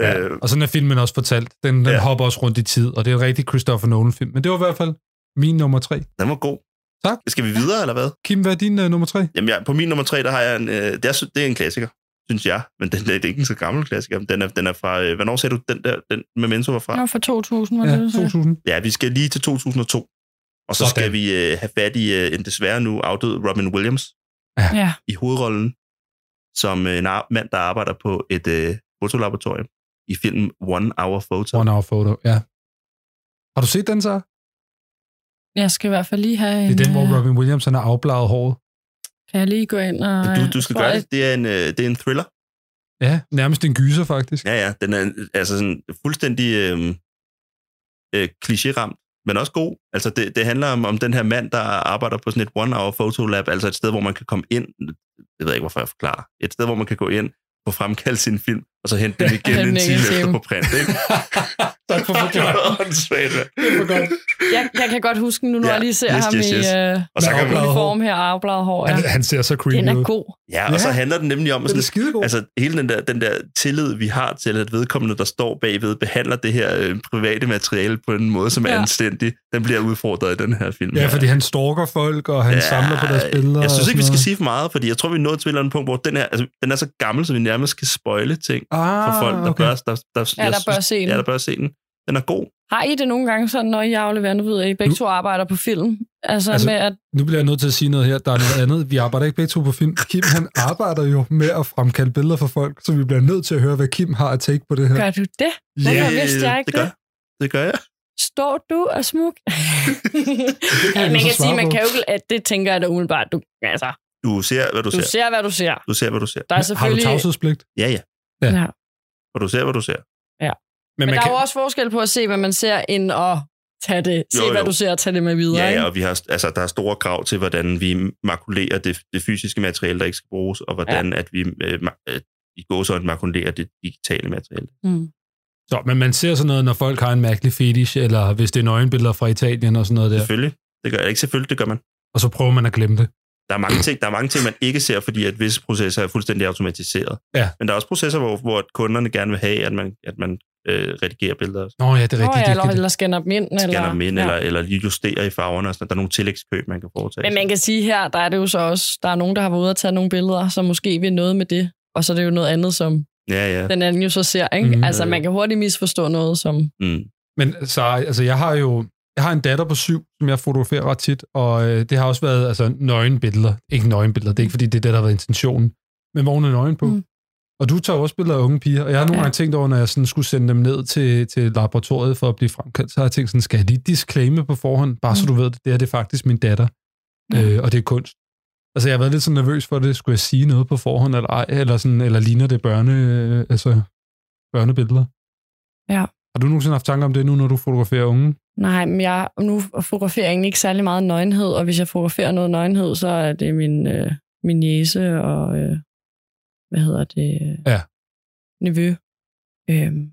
ja. Ja. øh, Og sådan er filmen også fortalt. Den, den ja. Ja. hopper også rundt i tid, og det er en rigtig Christopher Nolan-film. Men det var i hvert fald min nummer tre. den var god. Tak. Skal vi videre, eller hvad? Kim, hvad er din uh, nummer tre? Jamen, jeg, på min nummer 3, der har jeg en... Øh, det, er, det er en klassiker, synes jeg. Men den, det er ikke en så gammel klassiker. Den er, den er fra... Øh, hvornår sagde du, den der den Memento var fra? Den var fra 2000, var Ja, det, du sagde? 2000. Ja, vi skal lige til 2002. Og så Sådan. skal vi øh, have fat i øh, en desværre nu afdød Robin Williams Ja. i hovedrollen som øh, en ar- mand, der arbejder på et øh, fotolaboratorium i filmen One Hour Photo. One hour photo, ja. Har du set den så? Jeg skal i hvert fald lige have en... Det er den, hvor øh, Robin Williams han har afbladet håret. Kan jeg lige gå ind og... Du, du skal Tror gøre jeg- det. Det er en, øh, det er en thriller. Ja, nærmest en gyser faktisk. Ja, ja. Den er øh, altså sådan fuldstændig øh, øh, kliché-ramt, men også god. Altså, det, det handler om, om den her mand, der arbejder på sådan et one-hour photolab, altså et sted, hvor man kan komme ind. Jeg ved ikke, hvorfor jeg forklarer. Et sted, hvor man kan gå ind få fremkaldt sin film, og så hente den igen hente en den time igen efter time. på print. Ikke? Tak for det forklaringen. var åndssvagt, mand. Jeg, jeg kan godt huske den nu, når Ja, jeg lige ser yes, ham yes, yes. i øh, Og så Med kan man, afbladet uniform her, afbladet hår. Ja. Han, han ser så Den creepy er ud. god. ja, og så Ja. handler den nemlig om, at sådan, skidegod. Altså, Altså hele den der, den der tillid, vi har til, at vedkommende, der står bagved, behandler det her øh, private materiale på en måde, som er Ja. anstændig, den bliver udfordret i den her film. ja, her. fordi han stalker folk, og han ja, samler på deres billeder. Jeg synes og ikke, vi sådan skal noget. sige for meget, fordi jeg tror, vi er nået til et eller andet punkt, hvor den, her, altså, den er så gammel, så vi nærmest kan spoile ting ah, for folk, der, okay. bør, der, der, Ja, jeg der bør se synes, den. ja, der bør se den. Den er god. Har I det nogle gange sådan, når I afleverer, nu ved jeg, I begge to arbejder på film? Altså- Altså, altså med at... Nu bliver jeg nødt til at sige noget her. Der er noget andet. Vi arbejder ikke begge to på film. Kim, han arbejder jo med at fremkalde billeder for folk, så vi bliver nødt til at høre, hvad Kim har at take på det her. Gør du det? Hvorfor vidste jeg ikke det gør, det gør jeg. Står du og smuk? kan ja, jeg man så kan svare sige, man på. kan jo ikke, at det tænker jeg da umiddelbart. Du, altså, Du ser, hvad du, du ser. ser, hvad du ser. Du ser, hvad du ser. Der er Har du selvfølgelig... tavshedspligt? Ja, ja. Ja. Ja. Og du ser, hvad du ser. Men, man der kan, er jo også forskel på at se, hvad man ser, end at tage det. Se, Jo, jo. jo, jo. hvad du ser, og tage det med videre. Ja, ikke? ja, og vi har, altså, der er store krav til, hvordan vi makulerer det, det fysiske materiale, der ikke skal bruges, og hvordan ja. at vi øh, ma- øh, i gåsøjne makulerer det digitale materiale. Mm. så, men man ser sådan noget, når folk har en mærkelig fetish, eller hvis det er nøgenbilleder fra Italien og sådan noget Ja. der, Selvfølgelig. Det gør jeg ikke. Selvfølgelig, det gør man. og så prøver man at glemme det. Der er mange ting, der er mange ting man ikke ser, fordi at visse processer er fuldstændig automatiseret. Ja. Men der er også processer, hvor, hvor kunderne gerne vil have, at man, at man øh, redigerer billeder, Nå ja, det er Nå, rigtigt. ja, det eller, kan- eller scanner dem ind. scanner eller, dem ind, ja. eller, eller lige justerer i farverne. Og sådan. noget. Der er nogle tillægskøb, man kan foretage. Men man kan sige her, der er det jo så også, der er nogen, der har været ude og tage nogle billeder, som måske vil noget med det. Og så er det jo noget andet, som Ja, ja. den anden jo så ser. Ikke? Mhm. Mm, altså, man kan hurtigt misforstå noget, som... Mm. Men så, altså, jeg har jo jeg har en datter på syv, som jeg fotograferer ret tit, og øh, det har også været altså, nøgenbilleder. Ikke nøgenbilleder, det er ikke fordi, det er det, der har været intentionen. Men hvor hun er nøgen på. Mm. Mm. Og du tager også billeder af unge piger, og jeg har nogle Ja. gange tænkt over, når jeg sådan skulle sende dem ned til, til laboratoriet for at blive fremkaldt, så har jeg tænkt sådan, skal jeg lige disclaime på forhånd, bare mm. så Mm. du ved det, det her det er faktisk min datter, øh, og det er kunst. Altså, jeg har været lidt sådan nervøs for det, skulle jeg sige noget på forhånd, eller, ej, eller, sådan, eller ligner det børne, øh, altså, børnebilleder? Ja. Har du nogensinde haft tanker om det nu, når du fotograferer unge? Nej, men jeg, nu fotograferer jeg egentlig ikke særlig meget nøgenhed, og hvis jeg fotograferer noget nøgenhed, så er det min, øh, min jæse og, øh, hvad hedder det, Ja. nevø. Øhm.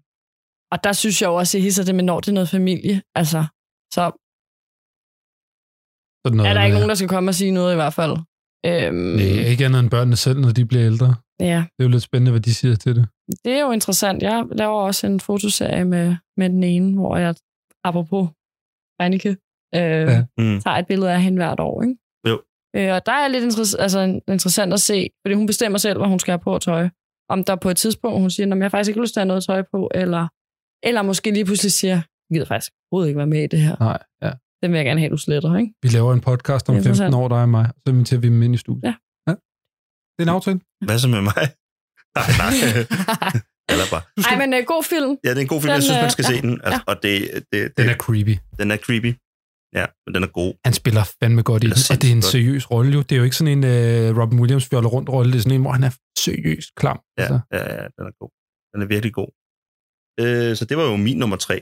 Og der synes jeg jo også, at jeg hisser det med, når det er noget familie. Altså, så Sådan noget, er der ikke nogen, der... der skal komme og sige noget i hvert fald. Øhm, Nej, ikke andet end børnene selv, når de bliver ældre. Ja, Det er jo lidt spændende, hvad de siger til det. det er jo interessant. Jeg laver også en fotoserie med, med den ene, hvor jeg, apropos Reineke, øh, Ja. ja. Mm. tager et billede af hende hvert år. Ikke? Jo. Øh, og der er lidt interes- altså, interessant at se, fordi hun bestemmer selv, hvad hun skal have på af tøj. Om der på et tidspunkt, hun siger, at jeg har faktisk ikke lyst til at have noget tøj på, eller, eller måske lige pludselig siger, jeg gider faktisk overhovedet ikke være med i det her. Nej, ja. Den vil jeg gerne have, du sletter. Ikke? Vi laver en podcast om Det er 15 interessant. år, dig og mig, og så inviterer vi dem ind i studiet. Ja. ja. Det er en aftale. Hvad så med mig? Nej, nej. Eller bare. Ej, men øh, god film. Ja, det er en god film. Jeg Den, synes, man øh, skal ja, se den. Altså, Og det, det, Den det, er creepy. den er creepy. Ja, men den er god. Han spiller fandme godt i Det er den, og det er en sindssygt seriøs rolle jo. Det er jo ikke sådan en uh, Robin Williams fjoller rundt rolle. Det er sådan en, hvor han er seriøst klam. Ja, Altså. ja, ja, den er god. Den er virkelig god. Øh, så det var jo min nummer tre.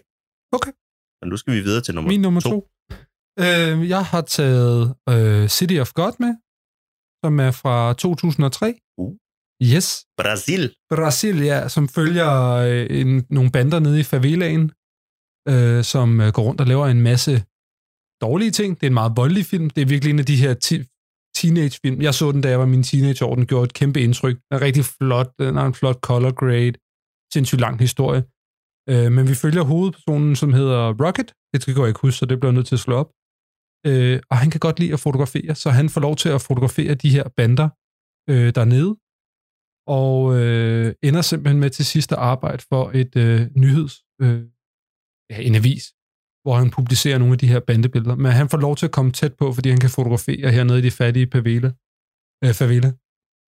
Okay. Og nu skal vi videre til nummer Min nummer to. to. Øh, jeg har taget øh, City of God med, som er fra 2003. Uh. Yes. Brasil. Brasilia, som følger øh, en, nogle bander nede i favelaen, øh, som øh, går rundt og laver en masse dårlige ting. Det er en meget voldelig film. Det er virkelig en af de her ti- teenagefilm. Jeg så den, da jeg var min teenageår. Den gjorde et kæmpe indtryk. Den er rigtig flot. Den har en flot color grade. Sindssygt lang historie. Øh, men vi følger hovedpersonen, som hedder Rocket. Det skal jeg ikke huske, så det bliver jeg nødt til at slå op. Øh, og han kan godt lide at fotografere, så han får lov til at fotografere de her bander øh, dernede og øh, ender simpelthen med til sidst at arbejde for et øh, nyheds, øh, ja, en avis, hvor han publicerer nogle af de her bandebilleder. Men han får lov til at komme tæt på, fordi han kan fotografere hernede i de fattige pavela. Øh, favela.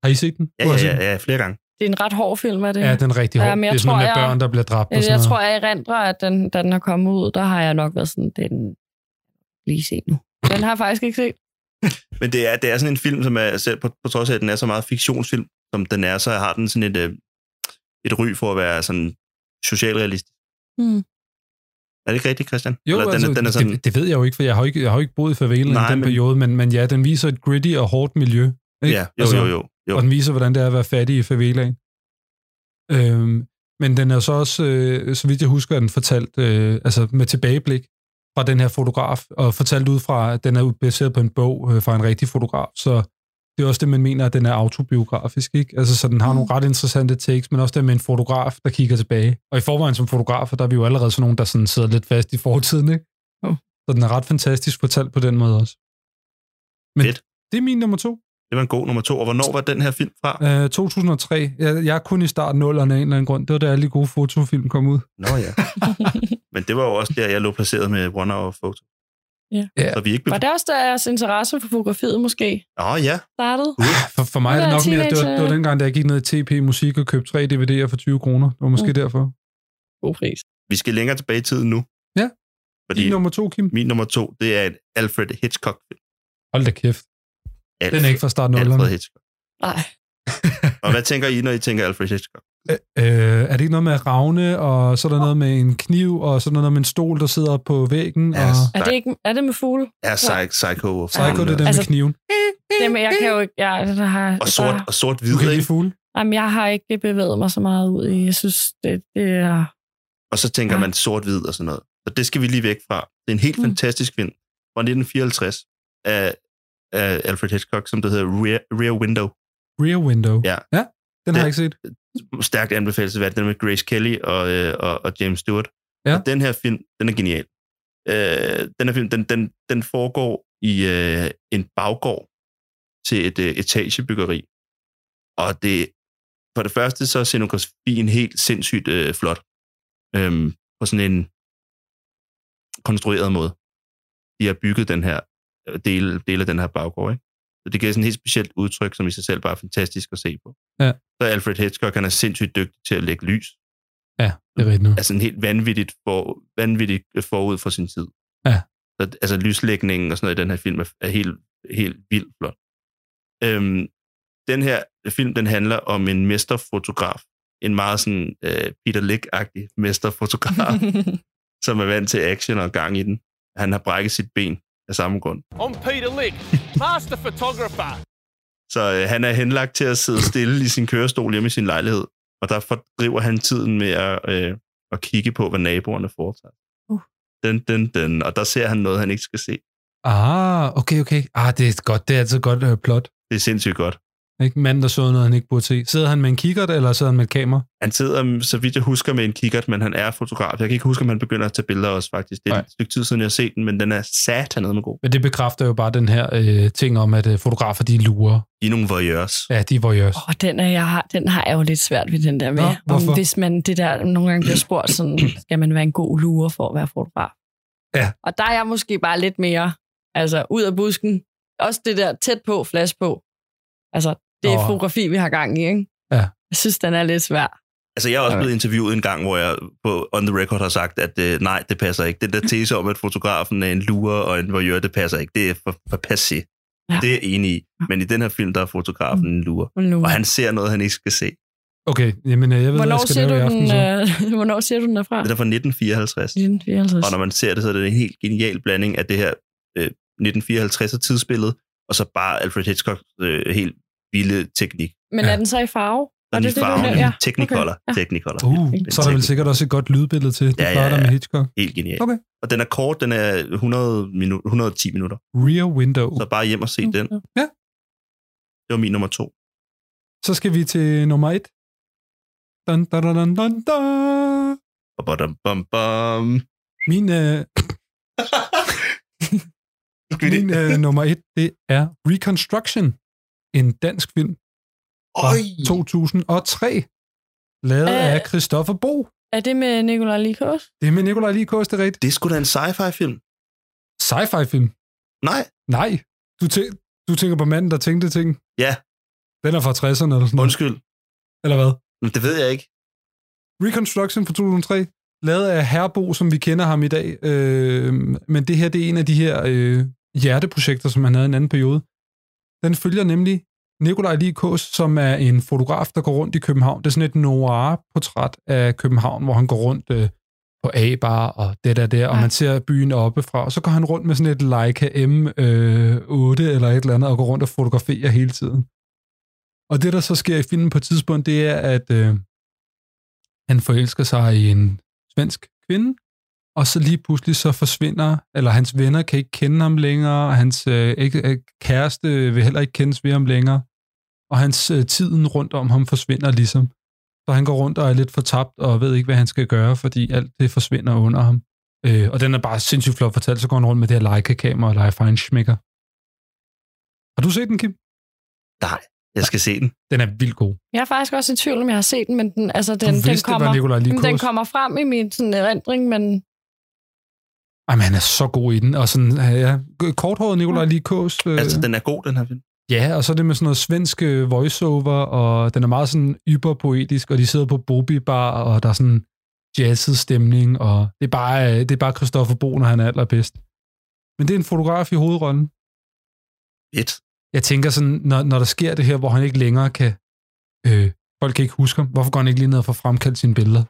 Har I set den? Ja, Du har ja, set ja, den? ja, flere gange. Det er en ret hård film, er det? Ja, den er rigtig hård. Ja, men det jeg er sådan tror, noget med jeg- børn, der bliver dræbt og Jeg, sådan Øh, jeg noget. tror, jeg erindrer, at den, da den har kommet ud, der har jeg nok været sådan, den lige set nu. Den har jeg faktisk ikke set. Men det er, det er sådan en film, som er, selv på, på trods af, at den er så meget fiktionsfilm, som den er, så har den sådan et, øh, et ry for at være sådan socialrealistisk. Hmm. Er det ikke rigtigt, Christian? Jo, Eller den, altså, er- den er sådan, det, det ved jeg jo ikke, for jeg har jo ikke, jeg har jo ikke boet i favelaen Nej, i den men- periode, men, men ja, den viser et gritty og hårdt miljø. Ikke? ja, jo, Altså, jo, jo, jo. og den viser, hvordan det er at være fattig i favelaen. Øhm, men den er så også, øh, så vidt jeg husker, er den fortalt øh, altså med tilbageblik fra den her fotograf, og fortalt ud fra, at den er jo baseret på en bog øh, fra en rigtig fotograf, så det er også det, man mener, at den er autobiografisk, ikke? Altså, så den har nogle ret interessante takes, men også det med en fotograf, der kigger tilbage. Og i forvejen som fotografer, der er vi jo allerede sådan nogen, der sådan sidder lidt fast i fortiden, ikke? Jo. Så den er ret fantastisk fortalt på den måde også. Men Fedt. det er min nummer to. Det var en god nummer to. Og hvornår var den her film fra? Øh, 2003. Jeg, jeg er kun i starten af 0'erne af en eller anden grund. Det var da alle de gode fotofilm kom ud. Nå ja. Men det var jo også der, jeg lå placeret med One Hour Photo. Ja. Ja. Så vi ikke blev... Var det også deres interesse for fotografiet måske Åh oh, ja. startede? For, for mig er det Hvad er nok mere, det var, teenage- det var dengang, da jeg gik ned i TP Musik og købte tre DVD'er for 20 kroner. Det var måske mm. derfor. God pris. Vi skal længere tilbage i tiden nu. Ja. Fordi Din nummer to, Kim. min nummer to, det er en Alfred Hitchcock. Hold da kæft. Alfred, Den er ikke fra starten af Alfred nullerne. Hitchcock. Nej, Og hvad tænker I, når I tænker Alfred Hitchcock? Øh, øh, er det ikke noget med ravne, og så er der noget med en kniv, og så er der noget med en stol, der sidder på væggen, og Yes. er det, ikke, er det med fugle? Er psych, psycho og psycho, det er den Altså, med kniven. Jamen, jeg kan jo ikke... Jeg, jeg har, og sort, Der, og sort Du kan hvid, lide ikke? fugle. jamen, jeg har ikke bevæget mig så meget ud i... Jeg synes, det, det er... Og så tænker Ja. man sort-hvid og sådan noget. Så det skal vi lige væk fra. Det er en helt Mm. fantastisk film fra 1954 af, af Alfred Hitchcock, som det hedder Rear, Rear Window. Rear Window. Ja. ja den har Det- jeg ikke set. Stærkt anbefalesværdigt, den med Grace Kelly og, øh, og, og James Stewart. Ja. Og den her film, den er genial. Øh, den her film, den, den, den foregår i øh, en baggård til et øh, etagebyggeri. Og det, for det første, så er scenografien helt sindssygt øh, flot. Øhm, på sådan en konstrueret måde. De har bygget den her øh, del, del af den her baggård, ikke? Så det giver sådan et helt specielt udtryk, som i sig selv bare er fantastisk at se på. Ja. Så Alfred Hitchcock, han er sindssygt dygtig til at lægge lys Ja, det er rigtigt nu. er sådan helt vanvittigt, for, vanvittigt øh, forud for sin tid. Ja. Så, altså lyslægningen og sådan noget i den her film er, er helt, helt vildt flot. Øhm, den her film, den handler om en mesterfotograf. En meget sådan øh, Peter Lick-agtig mesterfotograf, som er vant til action og gang i den. Han har brækket sit ben af samme grund. I'm Peter Lick, master photographer. Så øh, han er henlagt til at sidde stille i sin kørestol hjemme i sin lejlighed, og der fordriver han tiden med at, øh, at kigge på, hvad naboerne foretager. Uh. Den, den, den. Og der ser han noget, han ikke skal se. Ah, okay, okay. Ah, det er godt. Det er altid godt uh, plot. Det er sindssygt godt. Ikke? Manden, der så noget, han ikke burde se. Sidder han med en kikkert, eller sidder han med et kamera? Han sidder, mm, så vidt jeg husker, med en kikkert, men han er fotograf. Jeg kan ikke huske, om han begynder at tage billeder også, faktisk. Det er Nej. et stykke tid siden, jeg har set den, men den er satan med god. Men det bekræfter jo bare den her øh, ting om, at øh, fotografer, de lurer. I er nogle voyeurs. Ja, de er voyeurs. Åh, den, er, jeg har, den har jeg jo lidt svært ved, den der med. Nå, hvorfor? hvis man det der nogle gange bliver spurgt, sådan, skal man være en god lurer for at være fotograf? Ja. Og der er jeg måske bare lidt mere altså, ud af busken. Også det der tæt på, flash på. Altså, det er Nå. oh. fotografi, vi har gang i, ikke? Ja. Jeg synes, den er lidt svær. Altså, jeg er også Okay. blevet interviewet en gang, hvor jeg på on the record har sagt, at øh, nej, det passer ikke. Den der tese om, at fotografen er en lurer og en voyeur, det passer ikke. Det er for, for passé. Ja. Ja. Det er jeg enig i. Men i den her film, der er fotografen en lurer. Men Nu. Og han ser noget, han ikke skal se. Okay, jamen øh, jeg ved, Hvornår hvad jeg skal ser, du lave i den, aften. Så. øh, hvornår ser du den derfra? Den er fra 1954. 1954. Og når man ser det, så er det en helt genial blanding af det her øh, 1954'er tidsbillede, og så bare Alfred Hitchcocks øh, helt vilde teknik. Men Ja. er den så i farve? Var Den i det det, du farven, nævnte? ja. Ja, Technicolor. okay. Ja. Technicolor. Uh, så er der vel Technicolor. sikkert også et godt lydbillede til. Det Ja, ja, plejer der ja. med Hitchcock. Helt genial. Okay. Og den er kort, den er 100 minu- 110 minutter. Rear Window. Så bare hjem og se Mm. den. Ja. Det var min nummer to. Så skal vi til nummer et. Dun, dun, dun, dun, dun, dun. Og bam, bam, bam. Min, øh, Skal vi det? min øh, nummer et, det er Reconstruction. En dansk film fra Øj! 2003. Lavet Øh. af Christoffer Bo. Er det med Nicolai Likos? Det er med Nikolaj Likos, det er rigtigt. Det er sgu da en sci-fi film. Sci-fi film. Nej, Nej, du, tæ- du tænker på manden, der tænkte ting. Ja. Den er fra 60'erne eller sådan noget. undskyld. Eller hvad? Men det ved jeg ikke. Reconstruction fra 2003, lavet af Herbo, som vi kender ham i dag. Øh, men det her, det er en af de her øh, hjerteprojekter, som han havde i en anden periode. Den følger nemlig Nikolaj Likås, som er en fotograf, der går rundt i København. Det er sådan et noir-portræt af København, hvor han går rundt øh, på A-bar og det der der, og Ja. man ser byen oppefra. Og så går han rundt med sådan et Leica M8 eller et eller andet, og går rundt og fotograferer hele tiden. Og det, der så sker i filmen på et tidspunkt, det er, at... Øh, han forelsker sig i en svensk kvinde, og så lige pludselig så forsvinder, eller hans venner kan ikke kende ham længere, og hans øh, ikke, øh, kæreste vil heller ikke kendes ved ham længere, og hans øh, tiden rundt om ham forsvinder ligesom. Så han går rundt og er lidt fortabt, og ved ikke, hvad han skal gøre, fordi alt det forsvinder under ham. Øh, og den er bare sindssygt flot fortalt, så går han rundt med det her Leica-kamera og leger Feinschmecker. Har du set den, Kim? Jeg skal se den. Den er vildt god. Jeg er faktisk også i tvivl, om jeg har set den, men den, altså, Du den, den, vidste, det kommer, var Nikolaj Jamen, den Likos. kommer frem i min sådan, erindring, men Ej, men han er så god i den. Og sådan, øh, ja, korthåret Nikolaj Likos. Øh, Altså, den er god, den her film. Ja, og så er det med sådan noget svensk øh, voiceover, og den er meget sådan yberpoetisk, og de sidder på Bobi Bar, og der er sådan jazzet stemning, og det er bare, øh, det er bare Christoffer Bo, når han er allerbedst. Men det er en fotograf i hovedrollen. Et. Jeg tænker sådan, når, når der sker det her, hvor han ikke længere kan... Øh, folk kan ikke huske ham. Hvorfor går han ikke lige ned og får fremkaldt sine billeder?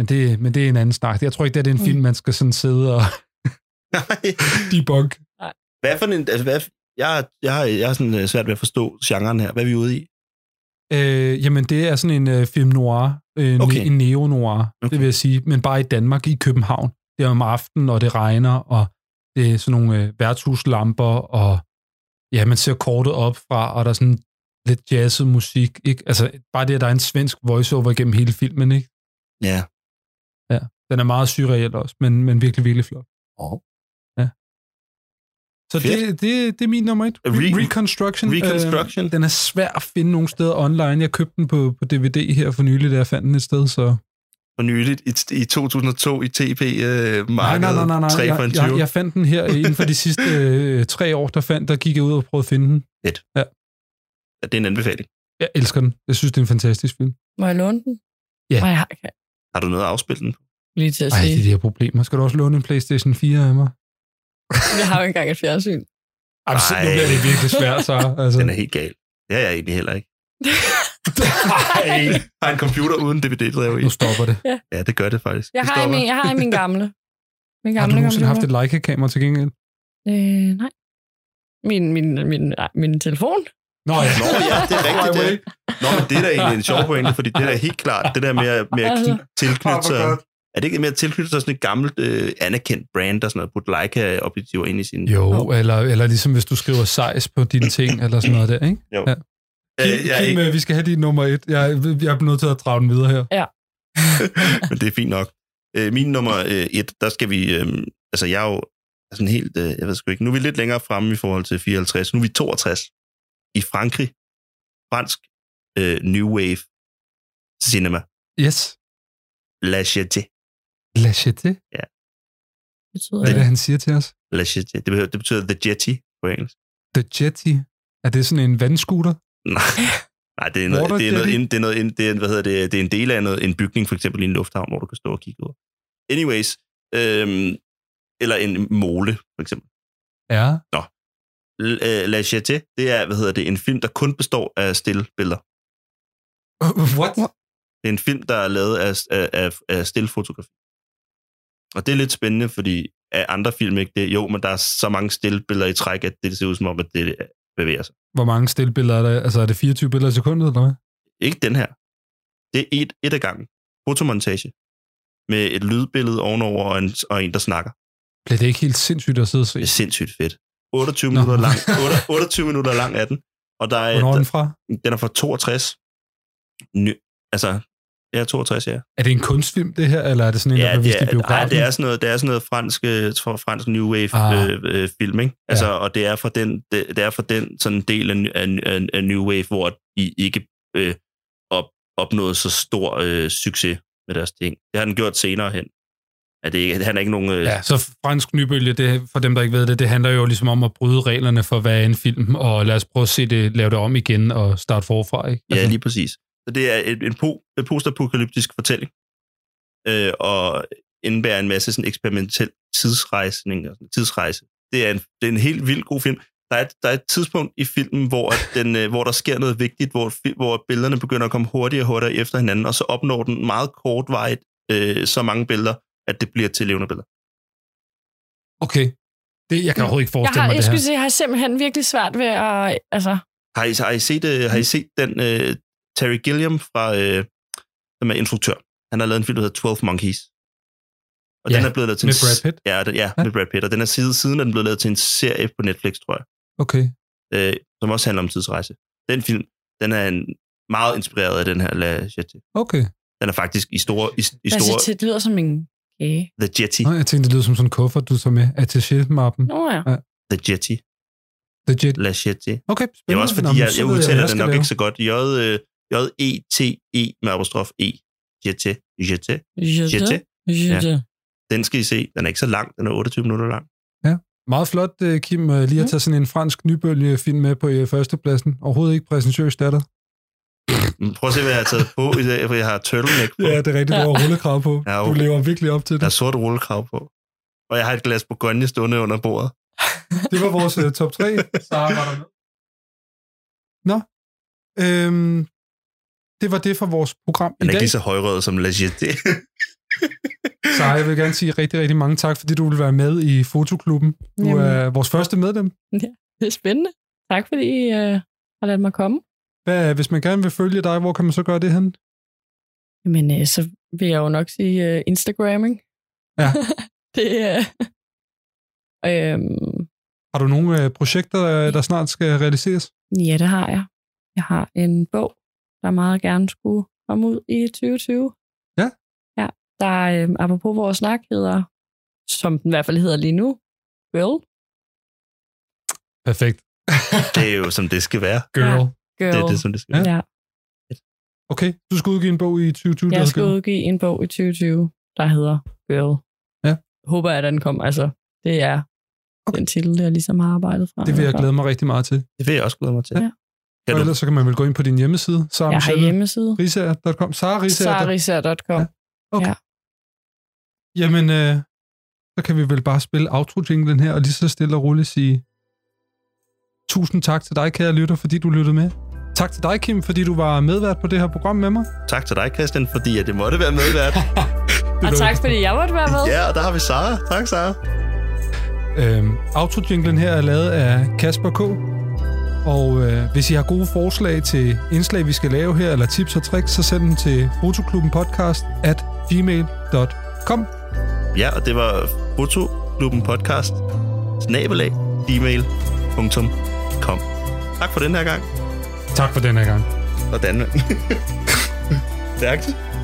Men det, men det er en anden snak. Jeg tror ikke, det er Mm. det er en film, man skal sådan sidde og Nej. debunk. Hvad for en... Altså, hvad, jeg, jeg, har, jeg har sådan øh, svært ved at forstå genren her. Hvad er vi ude i? Øh, jamen, det er sådan en øh, film noir, øh, en, Okay. okay. en neo-noir, okay. Okay. det vil jeg sige, men bare i Danmark, i København. Det er om aftenen, og det regner, og det er sådan nogle øh, værtshuslamper, og ja, man ser kortet op fra, og der er sådan lidt jazzet musik. Ikke? Altså, bare det, at der er en svensk voiceover igennem hele filmen, ikke? Ja. Den er meget surreal også, men, men virkelig, virkelig flot. Oh. Ja. Så Fedt. det, det, det er min nummer et. Re- Reconstruction. Reconstruction. Øh, den er svær at finde nogle steder online. Jeg købte den på, på DVD her for nylig, da jeg fandt den et sted, så... For nyligt i, i 2002 i TP-markedet. Øh, Nej, nej, nej, nej, nej. 3 for Jeg, en 20. jeg, jeg fandt den her inden for de sidste øh, tre år, der, fandt, der gik jeg ud og prøvede at finde den. Ja, Det er en anbefaling. Jeg elsker den. Jeg synes, det er en fantastisk film. Må jeg låne den? Ja. Nej, jeg har- kan Har du noget at afspille den? på? lige til at Ej, sige. det er de her problemer. Skal du også låne en Playstation 4 af mig? Jeg har jo engang et fjernsyn. Ej, så- nu Ej. bliver det virkelig svært, så. Altså. Den er helt gal. Det er jeg egentlig heller ikke. Ej, har en computer uden DVD-drev i. Nu stopper det. Ja, det gør det faktisk. Jeg Det har, i stopper. min, jeg har i min gamle. Min Har gamle du nogensinde haft computer. et Leica-kamera til gengæld? Øh, nej. Min, min, min, nej, min telefon. Nå ja. Nå ja, det er rigtigt. Highway. Det. Nå, men det er da egentlig en sjov pointe, fordi det er da helt klart, det der med, at- med at kn- tilknytte sig... Er det ikke med at tilknytte sig sådan et gammelt øh, anerkendt brand, der sådan noget, putte Leica-objektiver ind i sin... Jo, eller, eller ligesom hvis du skriver sejs på dine ting, eller sådan noget der, ikke? Øh, Kim, jeg er Kim ikke, ikke... vi skal have din nummer et. Jeg, jeg er nødt til at drage den videre her. men det er fint nok. Øh, min nummer øh, et, der skal vi... Øh, altså, jeg er jo sådan helt... Øh, jeg ved sgu ikke. Nu er vi lidt længere fremme i forhold til 54. Nu er vi 62. I Frankrig. Fransk øh, New Wave Cinema. Yes. La Jetée. La Chete. Betyder Hvad er det? det, han siger til os? La Jetée. Det, betyder, det betyder The Jetty på engelsk. The Jetty. Er det sådan en vandscooter? Nej, Nej det, er noget, Water det, er noget, jetty? ind- det, er noget, ind- det, er, hvad hedder det, det er en del af noget, en bygning, for eksempel i en lufthavn, hvor du kan stå og kigge ud. Anyways, øhm, eller en mole, for eksempel. Ja. L- øh, La Jetée, det er, hvad hedder det, en film, der kun består af stille billeder. What? Det er en film, der er lavet af, af, af, af stille fotografi. Og det er lidt spændende, fordi af andre film ikke det. Jo, men der er så mange stille billeder i træk, at det ser ud som om, at det bevæger sig. Hvor mange stillbilleder er der? Altså, er det 24 billeder i sekundet, eller hvad? Ikke den her. Det er et, et af gangen. Fotomontage. Med et lydbillede ovenover og en, og en der snakker. Bliver det ikke helt sindssygt at sidde og se? Det er sindssygt fedt. 28 Nå. minutter lang. 8, 28 minutter lang er den. Og der er, Hvornår er der, den fra? den er fra 62. Ny, altså, ja, 62, ja. Er det en kunstfilm, det her, eller er det sådan en, ja der bliver det, vist i er, biografen? nej, det er sådan noget, det er sådan noget fransk, øh, fra fransk New Wave Ah. ah. øh, øh, film, ikke? Altså, og det er fra den, det, det er fra den sådan del af, af, af, af New Wave, hvor I ikke øh, op, opnåede så stor øh, succes med deres ting. Det har den gjort senere hen. Er det, ikke- han er ikke nogen... Øh, Ja, så fransk nybølge, det, for dem, der ikke ved det, det handler jo ligesom om at bryde reglerne for, hvad er en film, og lad os prøve at se det, lave det om igen og starte forfra, ikke? Altså, Ja, lige præcis. Altså- Så det er et, en, po, en postapokalyptisk fortælling, øh, og indebærer en masse sådan eksperimentel tidsrejsning, og sådan tidsrejse. Det er, en, det er en helt vildt god film. Der er, et, der er et tidspunkt i filmen, hvor, at den, øh, hvor der sker noget vigtigt, hvor, fi- hvor billederne begynder at komme hurtigere og hurtigere efter hinanden, og så opnår den meget kortvarigt øh, så mange billeder, at det bliver til levende billeder. Okay. Det, jeg kan overhovedet ikke Jeg, forestille har, mig jeg det her. skulle sige, jeg har simpelthen virkelig svært ved at... Altså, Har I, har I, set, øh, har I Mm. set den øh, Terry Gilliam, fra, øh, som er instruktør? Han har lavet en film, der hedder 12 Monkeys. Og Ja, den er blevet lavet til med en, Brad Pitt. Ja, den, ja, Ja. med Brad Pitt. Og den er siden, siden er den blevet lavet til en serie på Netflix, tror jeg, Okay. øh, som også handler om tidsrejse. Den film, den er en, meget inspireret af den her La Jetty. Okay. Den er faktisk i store... I, i jeg store siger til, det lyder som en kage. The Jetty. Nå, jeg tænkte, det lyder som sådan en kuffert, du tager med. Attaché-mappen. Nå ja. The Jetty. The Jet. La Jetty. Okay, spændende. Det er også Nå, fordi, men jeg, så jeg ved udtaler hvad den skal nok lave. ikke så godt. J, øh, J-E-T-E med apostrof E. Jetty. Jetty. Jetty. Jette. Den skal I se. Den er ikke så lang. Den er 28 minutter lang. Meget flot, øh, Kim, Mm. øh, lige at tage sådan en fransk nybølgefilm med på øh, førstepladsen. Overhovedet ikke præsentøs datter. Men Mm, Prøv at se, hvad jeg har taget på i dag, for jeg har turtleneck på. Ja, det er rigtigt, du har rullekrav på. Ja, Du okay. Altså- lever virkelig op til Der det. er sort rullekrav på. Og jeg har et glas Bourgogne stående under bordet. Det var vores uh, top 3. Sara var der med. Nå. Øhm, det var det for vores program i Den er dag. ikke lige så højrød som La Jetée. Sara, jeg vil gerne sige rigtig, rigtig mange tak, fordi du vil være med i Fotoklubben. Du Jamen. er vores første medlem. Det er spændende. Tak fordi I øh, har ladet mig komme. Hvad, hvis man gerne vil følge dig, hvor kan man så gøre det hen? Men øh, så vil jeg jo nok sige øh, Instagramming. Ja. det er... Øh, øh, Har du nogle øh, projekter, øh, der snart skal realiseres? Ja, det har jeg. Jeg har en bog, der meget gerne skulle komme ud i 2020. Ja. Ja, der øh, apropos vores snak hedder, som den i hvert fald hedder lige nu, Girl. Perfekt. Det er jo, som det skal være. Girl. Ja. Girl. Det er det, som det skal være. ja. Okay, du skal udgive en bog i 2020. der Jeg skal hedder Girl. udgive en bog i 2020, der hedder Girl. Ja. Håber jeg, at den kommer. Altså, det er Okay. okay. den titel, jeg ligesom har arbejdet Altså, fra. Det vil jeg glæde mig rigtig meget til. Det vil jeg også glæde mig til. Ja. Og Kan du ellers så kan man vel gå ind på din hjemmeside, Jeg har saramichelle.com. hjemmeside. Risager.com. Sara Risager. Sarisa.com. Ja. Jamen, øh, så kan vi vel bare spille outro jinglen her, og lige så stille og roligt sige, tusind tak til dig, kære lytter, fordi du lyttede med. Tak til dig, Kim, fordi du var medvært på det her program med mig. Tak til dig, Christian, fordi at det måtte være medvært. Og tak, fordi jeg måtte være med. ja, og der har vi Sara. Tak, Sara. Øhm, outro jinglen her er lavet af Kasper K. Og øh, hvis I har gode forslag til indslag, vi skal lave her, eller tips og tricks, så send dem til fotoklubbenpodcast at gmail.com. Ja, og det var Fotoklubben Podcast. Snabelag. Gmail.com. Tak for den her gang. Tak for den her gang. Og Danmark. Stærkt.